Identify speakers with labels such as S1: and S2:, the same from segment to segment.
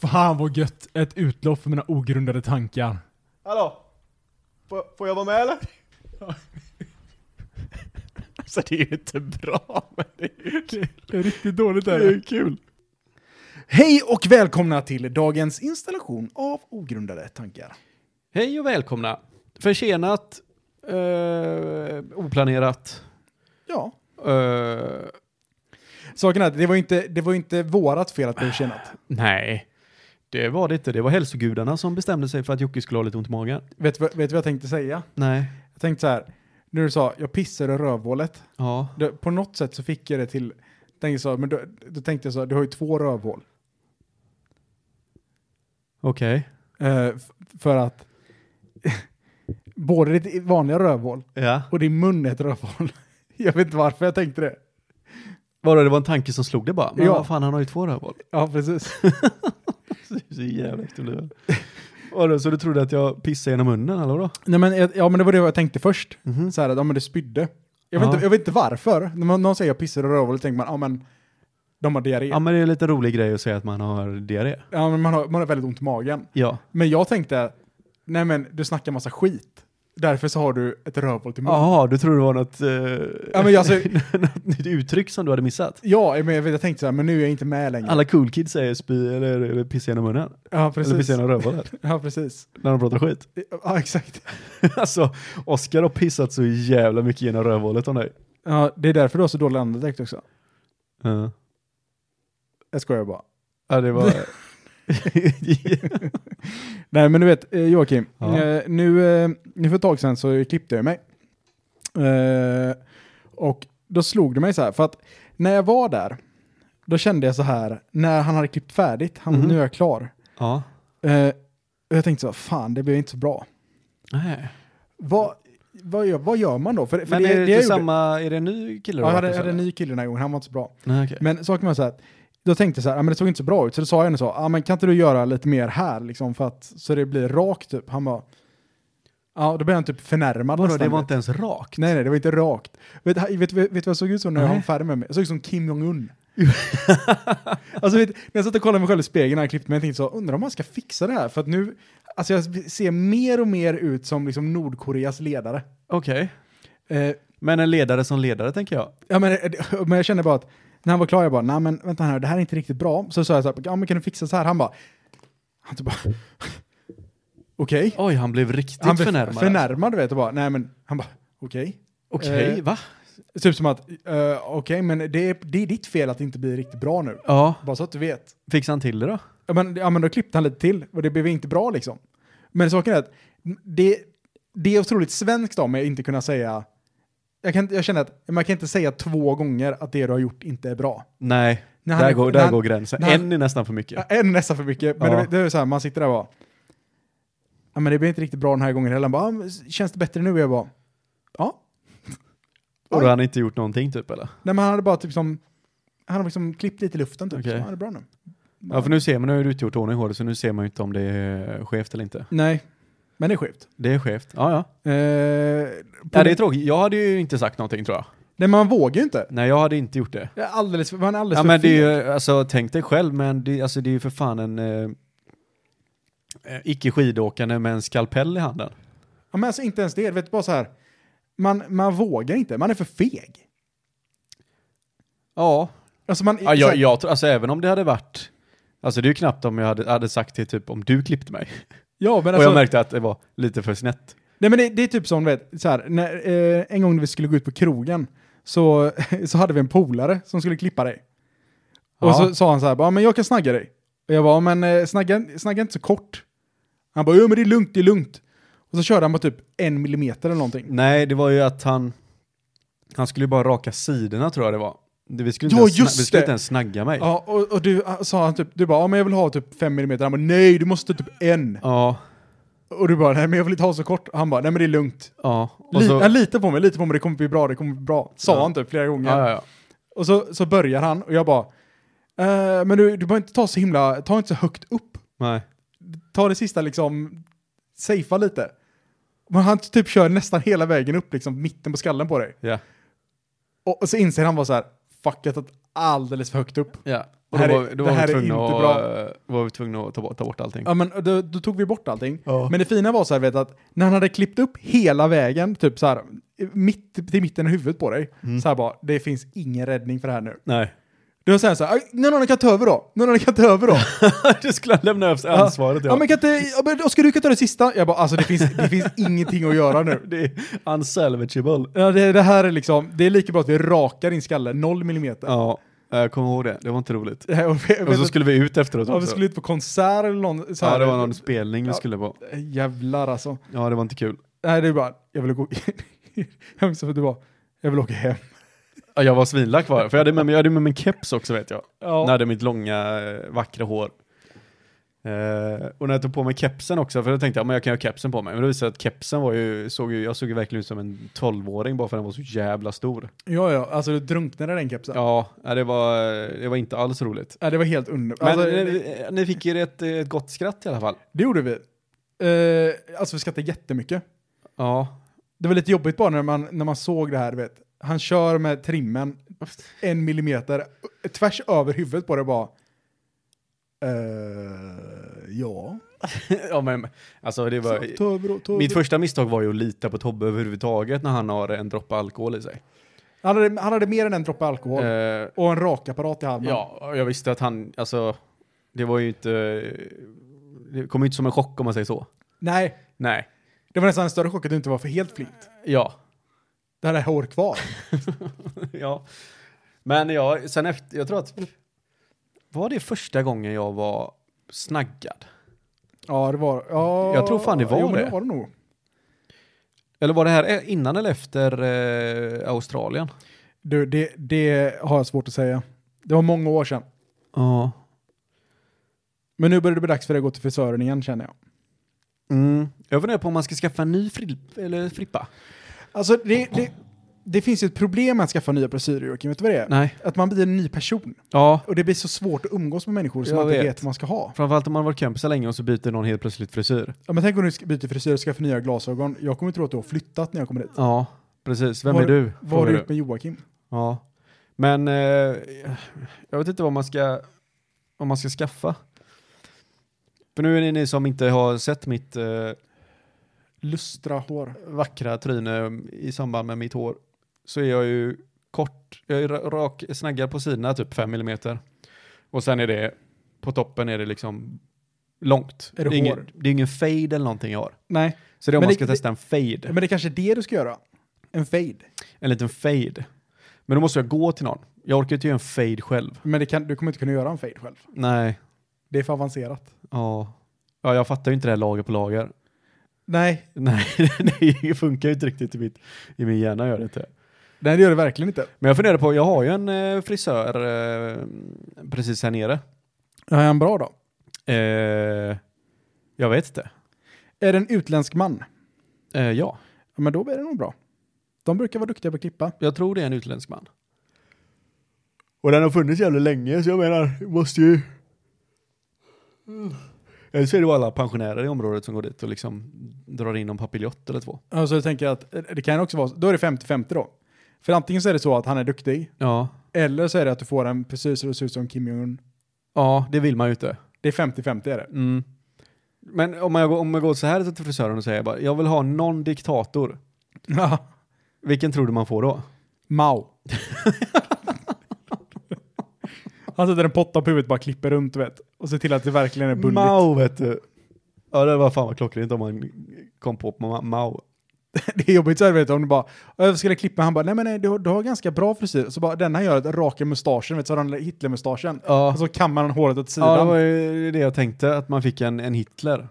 S1: Fan vad gött! Ett utlopp för mina ogrundade tankar.
S2: Hallå? Får, får jag vara med eller?
S3: Alltså det är ju inte bra, men det är ju kul.
S1: Det är riktigt dåligt
S3: Det är ju kul.
S4: Hej och välkomna till dagens installation av ogrundade tankar.
S3: Hej och välkomna. Försenat, eh, oplanerat.
S4: Ja,
S3: eh,
S4: saken är att det var ju inte, det var ju inte vårat fel att bli försenat.
S3: nej, det var det inte. Det var hälsogudarna som bestämde sig för att Jocke skulle ha lite ont i magen.
S4: Vet, du vad- vet du vad jag tänkte säga?
S3: Nej.
S4: Jag tänkte så här, när du sa jag pissar i rövhålet.
S3: Ja.
S4: Det, på något sätt så fick jag det till, tänkte så, men då, då tänkte jag så, du har ju två rövhål.
S3: Okej.
S4: Eh, f- för att både ditt vanliga rövhål
S3: Ja.
S4: och din mun är ett rövhål. Jag vet inte varför jag tänkte det.
S3: Vadå, det var en tanke som slog det bara? Men
S4: Ja.
S3: vad fan, han har ju två rövhål.
S4: Ja, precis.
S3: Så jävla äckligt blev jag. Vadå, så du trodde att jag pissade genom munnen, eller vadå?
S4: Nej, men, jag- ja, men det var det jag tänkte först.
S3: Mhm.
S4: Så här, att, ja men det spydde. Jag vet,
S3: Ja.
S4: inte, jag vet inte varför. När man, någon säger jag pissar i rövhålet tänker man, ja men de har diarré.
S3: Ja,
S4: Ja,
S3: men det är en lite rolig grej att säga att man har diarré.
S4: men man, har, man har väldigt ont i magen.
S3: Ja.
S4: Men jag tänkte, nej men du snackar massa skit. Därför så har du ett rövhål till munnen.
S3: Jaha, du trodde det var något, eh,
S4: Mm. Ja, men jag ser-
S3: något nytt uttryck som du hade missat?
S4: Ja, men jag, vet, jag tänkte så här, men nu är jag inte med längre.
S3: Alla cool kids säger spy eller, eller pissa genom munnen.
S4: Ja,
S3: Eller
S4: precis.
S3: pissa genom rövhålet
S4: Ja, precis.
S3: när de pratar skit.
S4: Ja, exakt.
S3: alltså, Oscar har pissat så jävla mycket genom rövhålet om dig.
S4: Ja, det är därför du har så dålig andedräkt också.
S3: Ja.
S4: Jag skojar bara.
S3: Ja, det var...
S4: Nej, men du vet, eh, Joakim.
S3: Ja.
S4: eh, Nu, eh, nu för ett tag sedan så klippte jag mig. Eh, Och då slog det mig så här, för att när jag var där, då kände jag så här, när han hade klippt färdigt, han
S3: Mhm.
S4: nu är jag klar.
S3: ja.
S4: Eh, Och jag tänkte så här, fan det blev inte så bra.
S3: Nej.
S4: Vad, vad, gör, vad gör man då? För, för
S3: Men är det,
S4: jag
S3: till
S4: gjorde-
S3: samma, är det en ny kille
S4: Ja, jag
S3: har
S4: hade,
S3: varit
S4: jag hade en
S3: hos, eller?
S4: ny kille den här gången, han var inte så bra.
S3: Nej, okej.
S4: Men saken var så här, att då tänkte jag så här, "Ja, men det såg inte så bra ut, så då sa jag henne så, ah, men kan inte du göra lite mer här liksom, för att, så det blir rakt typ. Han bara, ja, då blev han typ förnärmad
S3: Vadå,
S4: nästan.
S3: det var inte ens rakt?
S4: Nej, nej, det var inte rakt. Vet vet- vet- vet du vad jag såg ut som när jag
S3: Nej.
S4: var färdig med mig? Jag såg ut som Kim Jong-Un. alltså, vet, när jag satt och kollade mig själv i spegeln när jag klippte mig, jag tänkte så, undrar om man ska fixa det här? För att nu, alltså jag ser mer och mer ut som liksom Nordkoreas ledare.
S3: Okej.
S4: Eh,
S3: Men en ledare som ledare, tänker jag.
S4: Ja, men, eh, men jag kände bara att när han var klar, jag bara, nej men vänta här, det här är inte riktigt bra. Så sa jag så här, ja men kan du fixa så här? Han bara, han typ bara, okej.
S3: Oj, han blev riktigt
S4: Han blev
S3: förnärmad.
S4: förnärmad, vet du bara, nej men, han bara, okej.
S3: Okej,
S4: Eh,
S3: va?
S4: Typ som att, eh, okej men det är, det är ditt fel att det inte blir riktigt bra nu.
S3: Ja,
S4: Bara så att du vet.
S3: fixade han till det då?
S4: Ja men, ja, men då klippte han lite till och det blev inte bra liksom. Men saken är att det, det är otroligt svenskt av mig att inte kunna säga, jag, kan, inte- jag känner att man kan inte säga två gånger att det du har gjort inte är bra.
S3: Nej,
S4: När
S3: där,
S4: han-
S3: går,
S4: när
S3: där
S4: han-
S3: går gränsen.
S4: när han-
S3: en är nästan för mycket.
S4: Ja, en nästan för mycket. Men
S3: Ja.
S4: det, det är så här, man sitter där och bara, ja men det blev inte riktigt bra den här gången heller. Han bara, "Ja, men känns det bättre nu? Jag bara, ja.
S3: och
S4: oj.
S3: då har han inte gjort någonting typ eller?
S4: Nej men han hade bara typ som, han hade liksom klippt lite i luften typ.
S3: Okej.
S4: Så, ja, det är bra nu.
S3: Ja, för nu ser man, nu har ju du inte gjort ordning håret, så nu ser man ju inte om det är skevt eller inte.
S4: Nej, men det är skevt.
S3: Det är skevt. Ja, ja.
S4: Eh,
S3: ja det är typ- tråkigt. Jag hade ju inte sagt någonting tror jag.
S4: Nej man vågar ju inte.
S3: Nej, jag hade inte gjort det.
S4: Jag är Alldeles, för- man är alldeles
S3: Ja,
S4: för
S3: men det
S4: feg.
S3: är ju, alltså tänk dig själv, men det, alltså, det är ju för fan en eh, eh, icke skidåkande med en skalpell i handen.
S4: Ja, men alltså inte ens det, vet du, bara så här. Man, man vågar inte, man är för feg.
S3: Ja,
S4: Alltså man,
S3: ja
S4: så
S3: jag,
S4: här,
S3: jag tror, alltså även om det hade varit, alltså det är ju knappt om jag hade, hade sagt till typ om du klippte mig.
S4: ja, men
S3: Och
S4: alltså,
S3: jag märkte att det var lite för snett.
S4: nej, men det, det är typ som, vet, så här, när, eh, en gång när vi skulle gå ut på krogen så, så hade vi en polare som skulle klippa dig.
S3: Ja.
S4: Och så sa han så här, bara, men jag kan snagga dig. Och jag var men eh, snagga, snagga inte så kort. Han bara, jo men det är lugnt, det är lugnt. Och så körde han på typ en millimeter eller någonting.
S3: Nej, det var ju att han, han skulle ju bara raka sidorna tror jag det var. Det- Vi skulle inte,
S4: Ja,
S3: ens,
S4: just
S3: sna- vi skulle
S4: det.
S3: inte ens snagga mig.
S4: Ja, och, och du ah, sa han typ, du bara, ja, men jag vill ha typ fem millimeter. Han bara, nej du måste typ en.
S3: Ja,
S4: Och du bara, nej men jag vill inte ha så kort. Han bara, nej men det är lugnt.
S3: ja. Och
S4: Li-
S3: så, ja,
S4: Han litar på mig, litar på mig, det kommer bli bra, det kommer bli bra. Sa
S3: Ja.
S4: han typ flera gånger.
S3: ja, ja.
S4: Och så, så börjar han och jag bara, eh, men du, du behöver inte ta så himla, ta inte så högt upp.
S3: Nej.
S4: Ta det sista liksom, safea lite. Men han typ kör nästan hela vägen upp, liksom mitten på skallen på dig.
S3: Ja.
S4: Och, och så inser han bara så här, fuckat åt alldeles för högt upp.
S3: Ja.
S4: Det
S3: Och
S4: här
S3: då
S4: är-
S3: var, vi- då
S4: det
S3: var,
S4: här är
S3: vi tvungna
S4: inte
S3: att,
S4: bra.
S3: eh, var vi tvungna att ta bort, ta bort allting.
S4: Ja, men då, då tog vi bort allting.
S3: Ja.
S4: Men det fina var så här, vet, att när han hade klippt upp hela vägen, typ så här, mitt till mitten av huvudet på dig, så här bara, det finns ingen räddning för det här nu.
S3: Nej.
S4: Då säger han så här, "Aj, någon annan kan ta över då, någon annan kan ta över då.
S3: du skulle lämna över
S4: Ja.
S3: ansvaret.
S4: ja. men kan inte, ja, men Oskar du kan ta det sista. Jag bara, alltså det finns, det finns ingenting att göra nu.
S3: Det är unsalvageable.
S4: Ja, det, det här är liksom, det är lika bra att vi rakar din skalle, noll millimeter.
S3: Ja, jag kommer ihåg det. Det var inte roligt.
S4: Det här- och vi-
S3: Och så skulle vi ut efteråt
S4: ja, vi
S3: också.
S4: skulle ut på konsert eller någon, så här,
S3: Ja, det var någon spelning vi
S4: Ja.
S3: skulle på.
S4: Jävlar alltså.
S3: Ja, det var inte kul.
S4: Nej, det är bara, jag vill gå... jag minns att du bara, jag vill åka hem.
S3: Ja, Jag var svinlack var jag, för jag hade med mig, jag hade med mig en keps också vet jag.
S4: Ja.
S3: När jag hade mitt långa, eh, vackra hår. Eh, och när jag tog på mig kepsen också, för då tänkte jag men jag kan ju ha kepsen på mig. Men då visade det sig att kepsen var ju, såg ju, jag såg ju verkligen ut som en 12-åring bara för den var så jävla stor.
S4: Ja, ja, alltså du drunknade i den kepsen.
S3: Ja, nej, det var, det var inte alls roligt.
S4: Ja, det var helt underbart.
S3: Men
S4: Alltså, det,
S3: ni, ni fick ju ett, ett gott skratt i alla fall.
S4: det gjorde vi. Eh, alltså vi skrattade jättemycket.
S3: Ja.
S4: Det var lite jobbigt bara när man, när man såg det här, vet. Han kör med trimmen en millimeter tvärs över huvudet på det bara. Eh, ja.
S3: ja, men alltså det var...
S4: Så, ta över då, ta över.
S3: Mitt första misstag var ju att lita på Tobbe överhuvudtaget när han har en droppe alkohol i sig.
S4: han, hade, han hade mer än en droppe alkohol
S3: Eh,
S4: och en rakapparat i handen.
S3: ja, och jag visste att han, alltså, det var ju inte, det kom ju inte som en chock om man säger så.
S4: Nej,
S3: Nej,
S4: det var nästan en större chock att du inte var för helt flint.
S3: ja,
S4: Det här är hår kvar.
S3: ja. Men ja, sen efter, jag tror att, var det första gången jag var snaggad?
S4: Ja, det var... Ja,
S3: Jag tror fan det var
S4: jo, men
S3: det.
S4: det var det nog.
S3: Eller var det här e- innan eller efter eh, Australien?
S4: Du, det, det har jag svårt att säga. Det var många år sedan.
S3: Ja.
S4: Men nu börjar det bli dags för dig att gå till frisören igen känner jag.
S3: Mm. Jag funderar på om man ska skaffa en ny fri, eller frippa.
S4: Alltså det, det, det finns ju ett problem med att skaffa nya frisyrer Joakim, vet du vad det är?
S3: Nej.
S4: Att man blir en ny person.
S3: Ja,
S4: Och det blir så svårt att umgås med människor som
S3: Jag
S4: man inte
S3: vet.
S4: vet vad man ska ha.
S3: Framförallt om man har varit kompisar länge och så byter någon helt plötsligt frisyr.
S4: Ja, men tänk om du ska- byter frisyr och skaffar nya glasögon. Jag kommer tro att du har flyttat när jag kommer dit.
S3: Ja, precis. Vem
S4: Var-
S3: är du?
S4: Vad har
S3: Frågar
S4: du
S3: du?
S4: gjort med Joakim?
S3: Ja. Men eh, jag vet inte vad man ska, vad man ska skaffa. För nu är det ni som inte har sett mitt eh,
S4: Lustra hår.
S3: vackra tryne i samband med mitt hår. Så är jag ju kort, jag är ra- rak, snaggad på sidorna typ 5 millimeter. Och sen är det, på toppen är det liksom långt.
S4: Är det
S3: ingen-
S4: hår?
S3: det är ingen fade eller någonting jag har.
S4: Nej,
S3: Så det är om
S4: Men
S3: man
S4: det-
S3: ska
S4: det-
S3: testa en fade.
S4: men det är kanske är det du ska göra. En fade.
S3: en liten fade. Men då måste jag gå till någon. Jag orkar inte göra en fade själv.
S4: Men det kan, du kommer inte kunna göra en fade själv.
S3: Nej,
S4: Det är för avancerat.
S3: ja. Ja, jag fattar ju inte det här lager på lager.
S4: Nej,
S3: Nej, det funkar ju inte riktigt i, mitt, i min hjärna, gör det inte.
S4: nej det gör det verkligen inte.
S3: Men jag funderar på, jag har ju en eh, frisör eh, precis här nere.
S4: Är han bra då?
S3: Eh, jag vet inte.
S4: Är det en utländsk man?
S3: Eh, ja,
S4: Ja, men då är det nog bra. De brukar vara duktiga på att klippa.
S3: jag tror det är en utländsk man. Och den har funnits jävligt länge, så jag menar, måste ju... Eller så är det bara alla pensionärer i området som går dit och liksom drar in någon papiljott eller två.
S4: Ja, så tänker jag att eh, det kan också vara, då är det 50-50 då. För antingen så är det så att han är duktig,
S3: Ja.
S4: eller så är det att du får en precis så du ser ut som Kim Jong-Un.
S3: Ja, det vill man ju inte.
S4: Det är 50-50 är det.
S3: Mm. Men om jag, går- om jag går så här till frisören och säger bara, jag vill ha någon diktator.
S4: Ja.
S3: Vilken tror du man får då?
S4: Mao. han sätter en potta på huvudet och bara klipper runt, du vet. Och ser till att det verkligen är bulligt.
S3: Mao vet du. Ja det var fan vad klockrent om man kom på Ma- Mao.
S4: Det är jobbigt så här, vet du, om du bara, jag skulle klippa, han bara, nej men nej, du, har- du har ganska bra frisyr. Så bara, denna gör att raka mustaschen, vet du, så har han Hitler-mustaschen.
S3: Ja.
S4: Och så kammar han håret åt sidan.
S3: ja, det var ju det jag tänkte, att man fick en, en Hitler.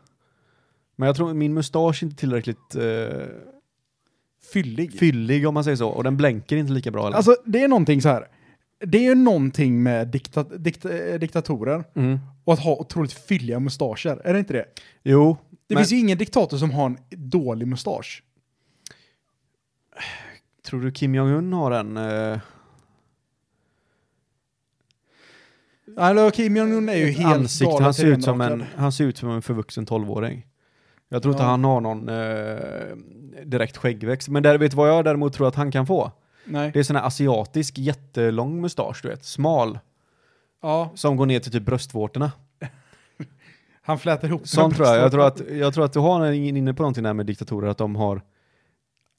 S3: Men jag tror min mustasch är inte tillräckligt eh,
S4: Fyllig.
S3: fyllig om man säger så, och den blänker inte lika bra. Eller?
S4: Alltså det är någonting så här. Det är ju någonting med dikta, dikta, eh, diktatorer
S3: mm.
S4: och att ha otroligt fylliga mustascher. Är det inte det?
S3: Jo,
S4: Det
S3: men
S4: finns ju ingen diktator som har en dålig mustasch.
S3: tror du Kim Jong-Un har en? Eh,
S4: Alltså, Kim Jong-Un är ju
S3: ett
S4: helt
S3: ansikte.
S4: galet
S3: Han ser, ut som en,
S4: renrakad.
S3: han ser ut som en förvuxen tolvåring. Jag tror inte
S4: Ja.
S3: han har någon eh, direkt skäggväxt. Men där, vet du vad jag däremot tror att han kan få?
S4: Nej.
S3: Det är sån här asiatisk jättelång mustasch, du vet, smal,
S4: Ja,
S3: som går ner till typ bröstvårtorna.
S4: han flätar ihop sina
S3: Sånt tror jag. Jag
S4: bröst.
S3: tror att, jag tror att du har ingen inne på någonting där med diktatorer, att de har,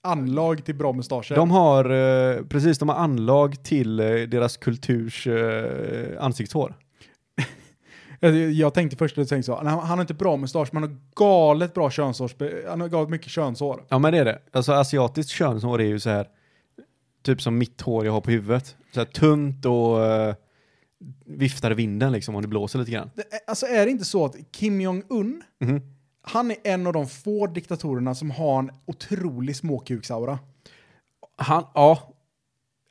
S4: Anlag till bra mustascher.
S3: de har, eh, precis, de har anlag till eh, deras kulturs eh, ansiktshår.
S4: Jag, jag tänkte först att tänkte så, han, han har inte bra mustasch, men han har galet bra könshår. Han har galet mycket könshår.
S3: Ja men det är det. Alltså asiatiskt könshår är ju så här typ som mitt hår jag har på huvudet. Så här tunt och eh, viftar i vinden liksom om det blåser lite grann.
S4: Det, är- alltså är det inte så att Kim Jong-Un,
S3: Mhm.
S4: han är en av de få diktatorerna som har en otrolig småkuksaura.
S3: Han, ja,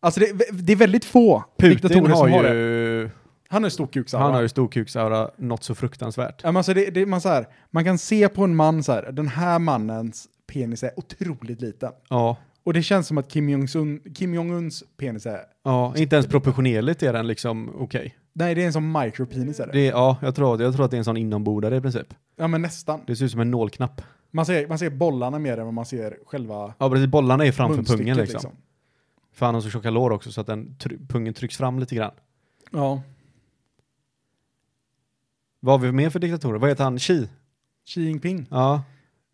S4: Alltså det, är- det är väldigt få
S3: Putin
S4: diktatorer
S3: har
S4: som har det.
S3: ju,
S4: Han har stor kuksaura.
S3: han har ju storkuksaura något så fruktansvärt.
S4: Ja, men alltså det, det, man, så här, man kan se på en man så här, den här mannens penis är otroligt liten.
S3: Ja,
S4: Och det känns som att Kim Jong-Un- Kim Jong-Uns penis är...
S3: ja inte ens proportionerligt är den liksom okej.
S4: Nej, det är en sån micropenis är det.
S3: Det är- Ja, jag tror, jag tror att det är en sån inombordare i princip.
S4: Ja, men nästan.
S3: Det ser ut som en nålknapp.
S4: Man ser, man ser bollarna mer än vad man ser själva
S3: Ja precis, bollarna är framför
S4: munstycket.
S3: pungen liksom. För han har så tjocka lår också så att den try- pungen trycks fram lite grann.
S4: liksom. Ja.
S3: Vad har vi mer för diktatorer? Vad heter han? Xi?
S4: Xi Jinping.
S3: Ja,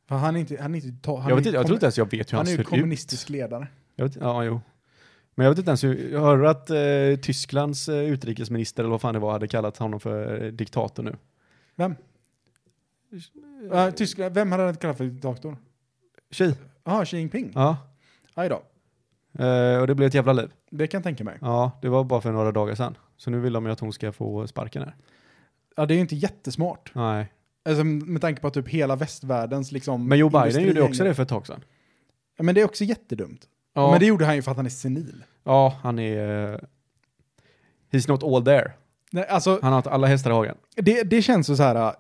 S4: För han är inte... Han är inte ta, han
S3: jag,
S4: är
S3: vet
S4: ju
S3: inte, jag
S4: kommu-
S3: tror inte ens jag vet hur han,
S4: Han är ju
S3: ser ut.
S4: kommunistisk ledare.
S3: Jag vet, ja, jo. Men jag vet inte ens hur, jag hörde att eh, Tysklands eh, utrikesminister eller vad fan det var hade kallat honom för eh, diktator nu.
S4: Vem? Uh, Tyskland, vem hade han kallat för diktator?
S3: Xi?
S4: Jaha, Xi Jinping.
S3: Ja.
S4: Aj då.
S3: Eh, och det blev ett jävla liv.
S4: Det kan jag tänka mig.
S3: Ja, det var bara för några dagar sedan. Så nu vill de ju att hon ska få sparken här.
S4: Ja, det är ju inte jättesmart.
S3: Nej.
S4: Alltså, med tanke på att typ hela västvärldens liksom...
S3: Men Joe Biden
S4: industri
S3: gjorde ju också
S4: hänger-
S3: det för ett tag sedan.
S4: Ja, men det är också jättedumt.
S3: Ja,
S4: Men det gjorde han ju för att han är senil.
S3: ja han är... eh, he's not all there.
S4: Nej, alltså,
S3: Han har inte alla hästar i hagen.
S4: det, det känns så här... äh,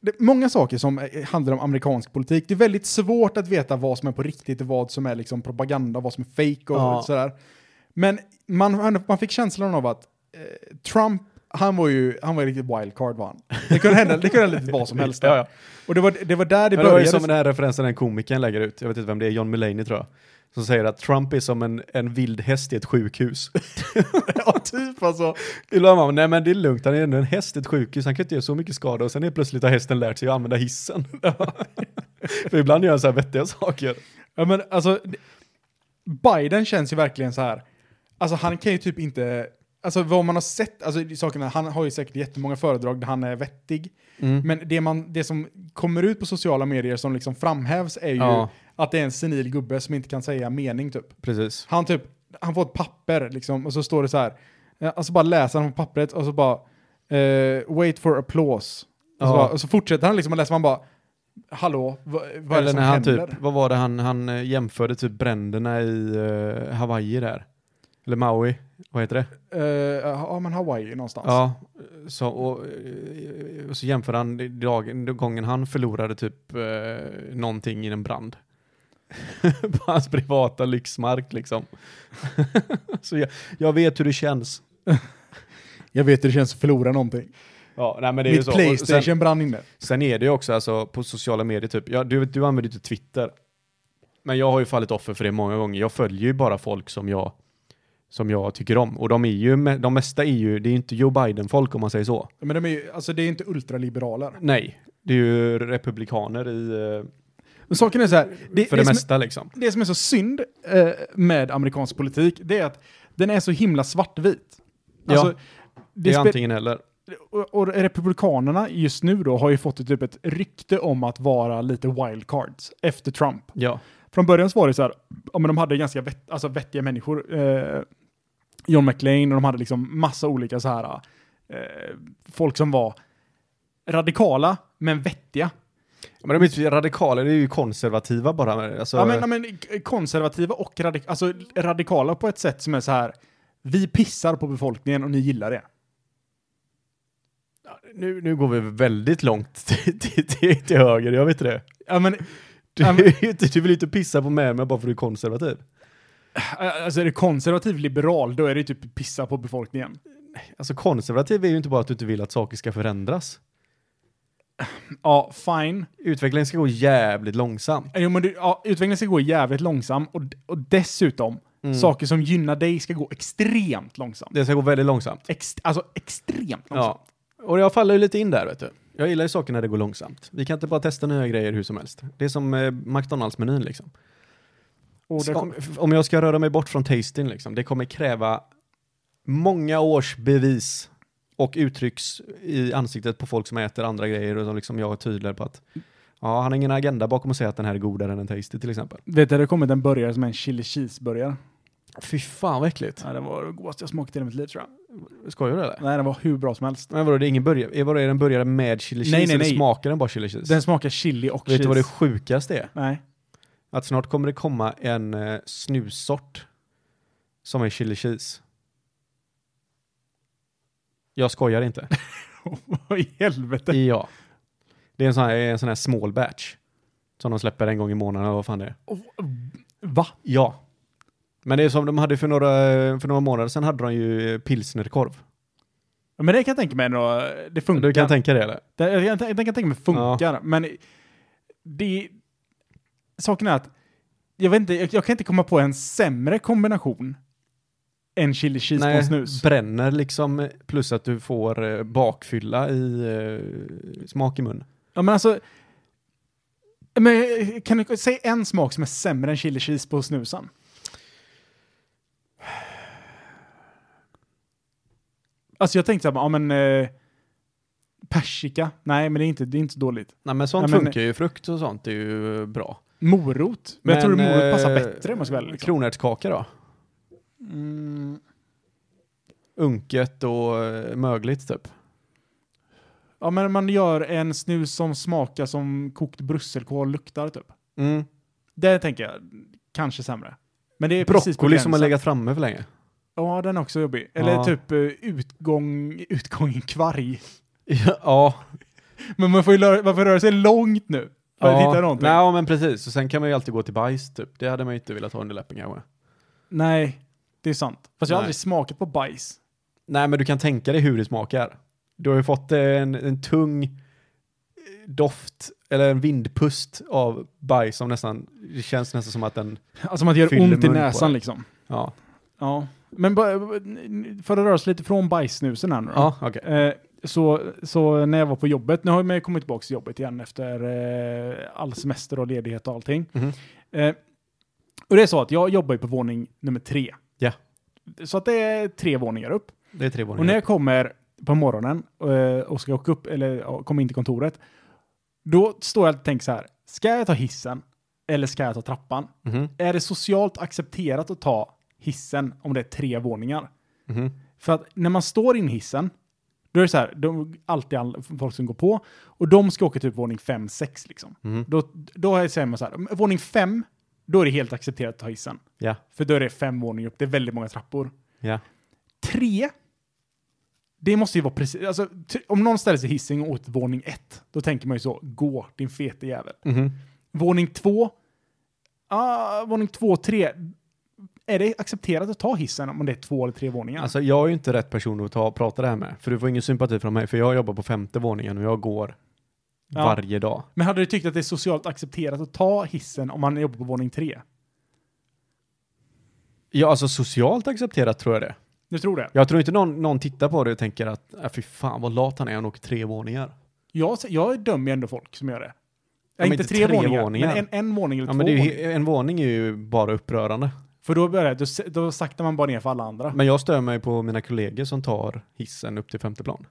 S4: Det, många saker som äh, handlar om amerikansk politik, det är väldigt svårt att veta vad som är på riktigt och vad som är liksom propaganda, vad som är fake och
S3: Ja.
S4: sådär. Men man, man fick känslan av att eh, Trump, han var ju han var ju riktigt wildcard var han. Det kunde hända, det kunde hända lite vad som helst. där.
S3: Ja, ja.
S4: Och det var, det var där det
S3: Det, det var ju
S4: började.
S3: som den här referensen den komikern lägger ut, jag vet inte vem det är, John Mulaney tror jag, som säger att Trump är som en, en vild häst i ett sjukhus.
S4: ja, typ alltså.
S3: Då la man, nej men det är lugnt, han är ändå en häst i ett sjukhus, han kan inte göra så mycket skada och sen är plötsligt har hästen lärt sig att använda hissen. För ibland gör han så här vettiga saker.
S4: Ja, men alltså, d- Biden känns ju verkligen så här. Alltså han kan ju typ inte, alltså vad man har sett, alltså i sakerna, han har ju säkert jättemånga föredrag där han är vettig.
S3: Mm.
S4: Men det, man, det som kommer ut på sociala medier som liksom framhävs är ju
S3: Ja.
S4: att det är en senil gubbe som inte kan säga mening typ.
S3: Precis.
S4: Han typ, han får ett papper liksom och så står det så här. eh, Alltså bara läser han på pappret och så bara eh, wait for applause. Och, så
S3: Ja.
S4: bara, och så fortsätter han liksom och läser man bara hallå, vad, vad är det
S3: Eller
S4: som
S3: när han
S4: händer?
S3: typ, vad var det han, han eh, jämförde typ bränderna i eh, Hawaii där? Eller Maui, vad heter det?
S4: Eh, ja, men Hawaii någonstans.
S3: Ja, så, och, eh, och så jämför han dagen, gången han förlorade typ eh, någonting i en brand. på hans privata lyxmark liksom. så jag, jag vet hur det känns.
S4: Jag vet hur det känns att förlora någonting.
S3: Ja, nej, men det är ju
S4: Mitt
S3: så. Och
S4: Playstation
S3: Sen,
S4: brann inne.
S3: sen är det ju också alltså, på sociala medier, typ. Ja, du, du använder ju inte Twitter. Men jag har ju fallit offer för det många gånger. Jag följer ju bara folk som jag, som jag tycker om. Och de är ju, me- de mesta är ju, det är ju inte Joe Biden-folk om man säger så.
S4: Men de är ju, alltså det är inte ultraliberaler.
S3: Nej, det är ju republikaner i, eh,
S4: Men saken är så här, det,
S3: för
S4: det,
S3: det,
S4: som,
S3: mesta liksom.
S4: det som är så synd eh, med amerikansk politik, det är att den är så himla svartvit. Alltså,
S3: ja, det är
S4: spe-
S3: antingen eller.
S4: och, och republikanerna just nu då har ju fått typ ett rykte om att vara lite wildcards efter Trump.
S3: Ja.
S4: Från början så var det så här, ja, men de hade ganska vett, alltså vettiga människor. Eh, John McLean och de hade liksom massa olika så här, eh, folk som var radikala men vettiga.
S3: Men de är ju radikala, det är ju konservativa bara. Alltså,
S4: Ja, men, ja, men k- konservativa och radik- alltså, radikala på ett sätt som är så här, vi pissar på befolkningen och ni gillar det.
S3: nu, nu går vi väldigt långt till, till, till, till höger, jag vet det.
S4: Ja, men,
S3: Du,
S4: Ja, men-
S3: du vill ju inte pissa på mig bara för att du är konservativ.
S4: alltså är det konservativ liberal, då är det typ pissa på befolkningen.
S3: Alltså konservativ är ju inte bara att du inte vill att saker ska förändras.
S4: Ja, fine.
S3: Utvecklingen ska gå jävligt långsamt.
S4: Jo, men du, ja, utvecklingen ska gå jävligt långsamt och, och dessutom, saker som gynnar dig ska gå extremt långsamt.
S3: Det ska gå väldigt långsamt.
S4: Ex, alltså extremt långsamt.
S3: Ja. Och jag faller ju lite in där, vet du. Jag gillar ju saker när det går långsamt. Vi kan inte bara testa nya grejer hur som helst. Det är som eh, McDonalds-menyn liksom.
S4: Och där
S3: Så
S4: kom,
S3: Om, om jag ska röra mig bort från tasting liksom, det kommer kräva många års bevis och uttrycks i ansiktet på folk som äter andra grejer och som liksom jag är tydlig på att ja, han har ingen agenda bakom att säga att den här är godare än en tasty till exempel.
S4: vet du, det har kommit en burgare som är en chili cheese-burgare.
S3: Fy fan vad äckligt.
S4: Ja, det var det godaste jag smakat i hela mitt liv tror jag.
S3: Skojar du eller?
S4: Nej, den var hur bra som helst.
S3: Men vadå, det är ingen burgare? Är- Vadå, är den burgare med chili
S4: Nej,
S3: cheese
S4: nej,
S3: eller
S4: nej.
S3: smakar den bara chili cheese?
S4: Den smakar chili och
S3: Vet
S4: cheese.
S3: du vad det sjukaste är?
S4: Nej.
S3: Att snart kommer det komma en eh, snussort som är chili cheese. Jag skojar inte.
S4: Vad i helvete?
S3: Ja. Det är en sån här, en sån här small batch. Som de släpper en gång i månaden, eller vad fan det är.
S4: Va?
S3: Ja. Men det är som de hade för några, för några månader sedan hade de ju eh, pilsnerkorv.
S4: Ja, Men det kan jag tänka mig ändå, det funkar.
S3: Du kan tänka dig eller?
S4: det, jag, kan, jag kan tänka mig funkar, men det... Saken är att jag, vet inte, jag, jag kan inte komma på en sämre kombination än chili cheese på en snus.
S3: bränner liksom eh, plus att du får eh, bakfylla i eh, smak i mun.
S4: Ja, men alltså... Men eh, kan du säga en smak som är sämre än chili cheese på snusen? Alltså jag tänkte såhär, ja men... Eh, persika? Nej, men det är inte, det är inte så dåligt.
S3: Nej men sånt
S4: Ja, men-
S3: funkar ju, frukt och sånt är ju eh, bra.
S4: Morot? Men, jag tror att morot passar
S3: eh,
S4: bättre om man ska välja. Liksom.
S3: Kronärtskaka då?
S4: Mm,
S3: Unket och eh, mögligt typ.
S4: ja, men man gör en snus som smakar som kokt brusselkål luktar typ.
S3: Mm.
S4: Det tänker jag kanske sämre. Men det är precis på
S3: Broccoli som har
S4: gränsen.
S3: legat framme för länge.
S4: Ja, den är också jobbig. Eller
S3: Ja.
S4: typ eh, utgång, utgång i kvarg.
S3: Ja,
S4: Men man får ju röra, man får röra sig långt nu för att hitta någonting.
S3: Nej, men precis. Och sen kan man ju alltid gå till bajs typ. Det hade man ju inte velat ha under läppen kanske.
S4: Nej, det är sant. Fast jag har
S3: Nej.
S4: aldrig smakat på bajs.
S3: Nej, men du kan tänka dig hur det smakar. Du har ju fått en, en tung eh, doft eller en vindpust av bajs som nästan, det känns nästan som att den,
S4: Alltså man gör
S3: Fyller
S4: ont i
S3: mun på
S4: näsan
S3: det.
S4: liksom.
S3: ja,
S4: Ja. Men bara, för att röra sig lite från bajssnusen här nu då.
S3: ja okej.
S4: Eh, så, så när jag var på jobbet, nu har jag kommit tillbaka till jobbet igen efter eh, all semester och ledighet och allting.
S3: Mhm.
S4: Eh, och det är så att jag jobbar ju på våning nummer tre.
S3: Ja.
S4: Så att det är tre våningar upp.
S3: Det är tre
S4: Och när
S3: våningar.
S4: jag kommer på morgonen eh, och ska åka upp, eller ja, komma in till kontoret, då står jag och tänker så här, ska jag ta hissen eller ska jag ta trappan?
S3: Mhm,
S4: Är det socialt accepterat att ta hissen om det är tre våningar?
S3: mhm.
S4: För att när man står in i hissen, då är det så här, de, alltid all, folk som går på, och de ska åka typ våning 5-6 liksom.
S3: Mhm.
S4: Då, då säger man så här, våning 5, då är det helt accepterat att ta hissen.
S3: Ja,
S4: För då är det fem våningar upp, det är väldigt många trappor.
S3: ja.
S4: Tre, det måste ju vara precis, alltså, t- om någon ställer sig i hissen och åt våning ett, då tänker man ju så, gå din fete jävel.
S3: Mhm.
S4: Våning två, ah, våning två och tre, är det accepterat att ta hissen om det är två eller tre våningar?
S3: Alltså jag är ju inte rätt person att ta, prata det här med, för du får ingen sympati från mig, för jag jobbar på femte våningen och jag går
S4: Ja.
S3: varje dag.
S4: Men hade du tyckt att det är socialt accepterat att ta hissen om man jobbar på våning tre?
S3: Ja, alltså socialt accepterat tror jag det.
S4: Du tror det?
S3: Jag tror inte någon, någon tittar på det och tänker att äh, fy fan vad lat han är, han åker tre våningar.
S4: Jag, jag dömer ju ändå folk som gör det. Ja,
S3: men
S4: inte
S3: inte
S4: tre,
S3: tre
S4: våningar,
S3: våningar.
S4: men en, en våning eller
S3: Ja,
S4: två
S3: men det är
S4: våningar.
S3: ju, en våning är ju bara upprörande.
S4: För då, börjar, det- då, s- då saktar man bara ner för alla andra.
S3: Men jag stör mig på mina kollegor som tar hissen upp till femte plan.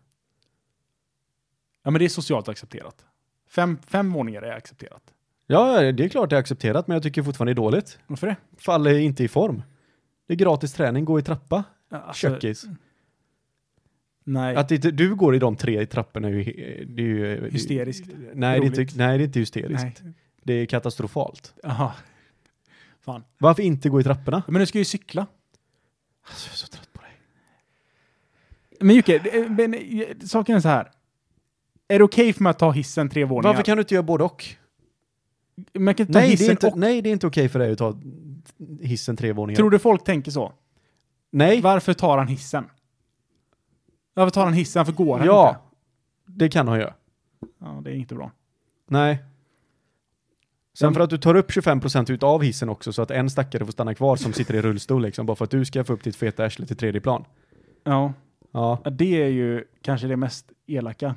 S4: Ja, men det är socialt accepterat. Fem, fem våningar är accepterat.
S3: Ja, ja, det är klart det är accepterat, men jag tycker fortfarande det är dåligt.
S4: Varför det?
S3: Fall är inte i form. Det är gratis träning, gå i trappa,
S4: Alltså,
S3: kökis.
S4: Nej.
S3: Att inte du går i de tre trapporna är ju... he- Det är ju det är-
S4: Hysteriskt.
S3: Nej det, är
S4: Roligt.
S3: inte, nej, det är inte hysteriskt.
S4: nej.
S3: Det är katastrofalt.
S4: Aha.
S3: Varför inte gå i trapporna?
S4: Men du ska ju cykla.
S3: Alltså, jag är så trött på dig.
S4: Men Jocke, det- men, eh, saken är så här. Är det okej för mig att ta hissen tre våningar?
S3: Varför kan du inte göra både och?
S4: Men jag kan ta
S3: Nej det, är
S4: hissen
S3: inte,
S4: och...
S3: nej, det är inte okej för dig att ta hissen tre våningar.
S4: Tror du folk tänker så?
S3: nej,
S4: Varför tar han hissen? Varför tar han hissen? Varför går han
S3: ja.
S4: inte?
S3: Det kan han göra.
S4: Ja, det är inte bra.
S3: Nej. Sen för att du tar upp 25% utav hissen också så att en stackare får stanna kvar som sitter i rullstol liksom bara för att du ska få upp ditt feta arsle till tredje plan.
S4: Ja,
S3: Ja.
S4: det är ju kanske det mest elaka.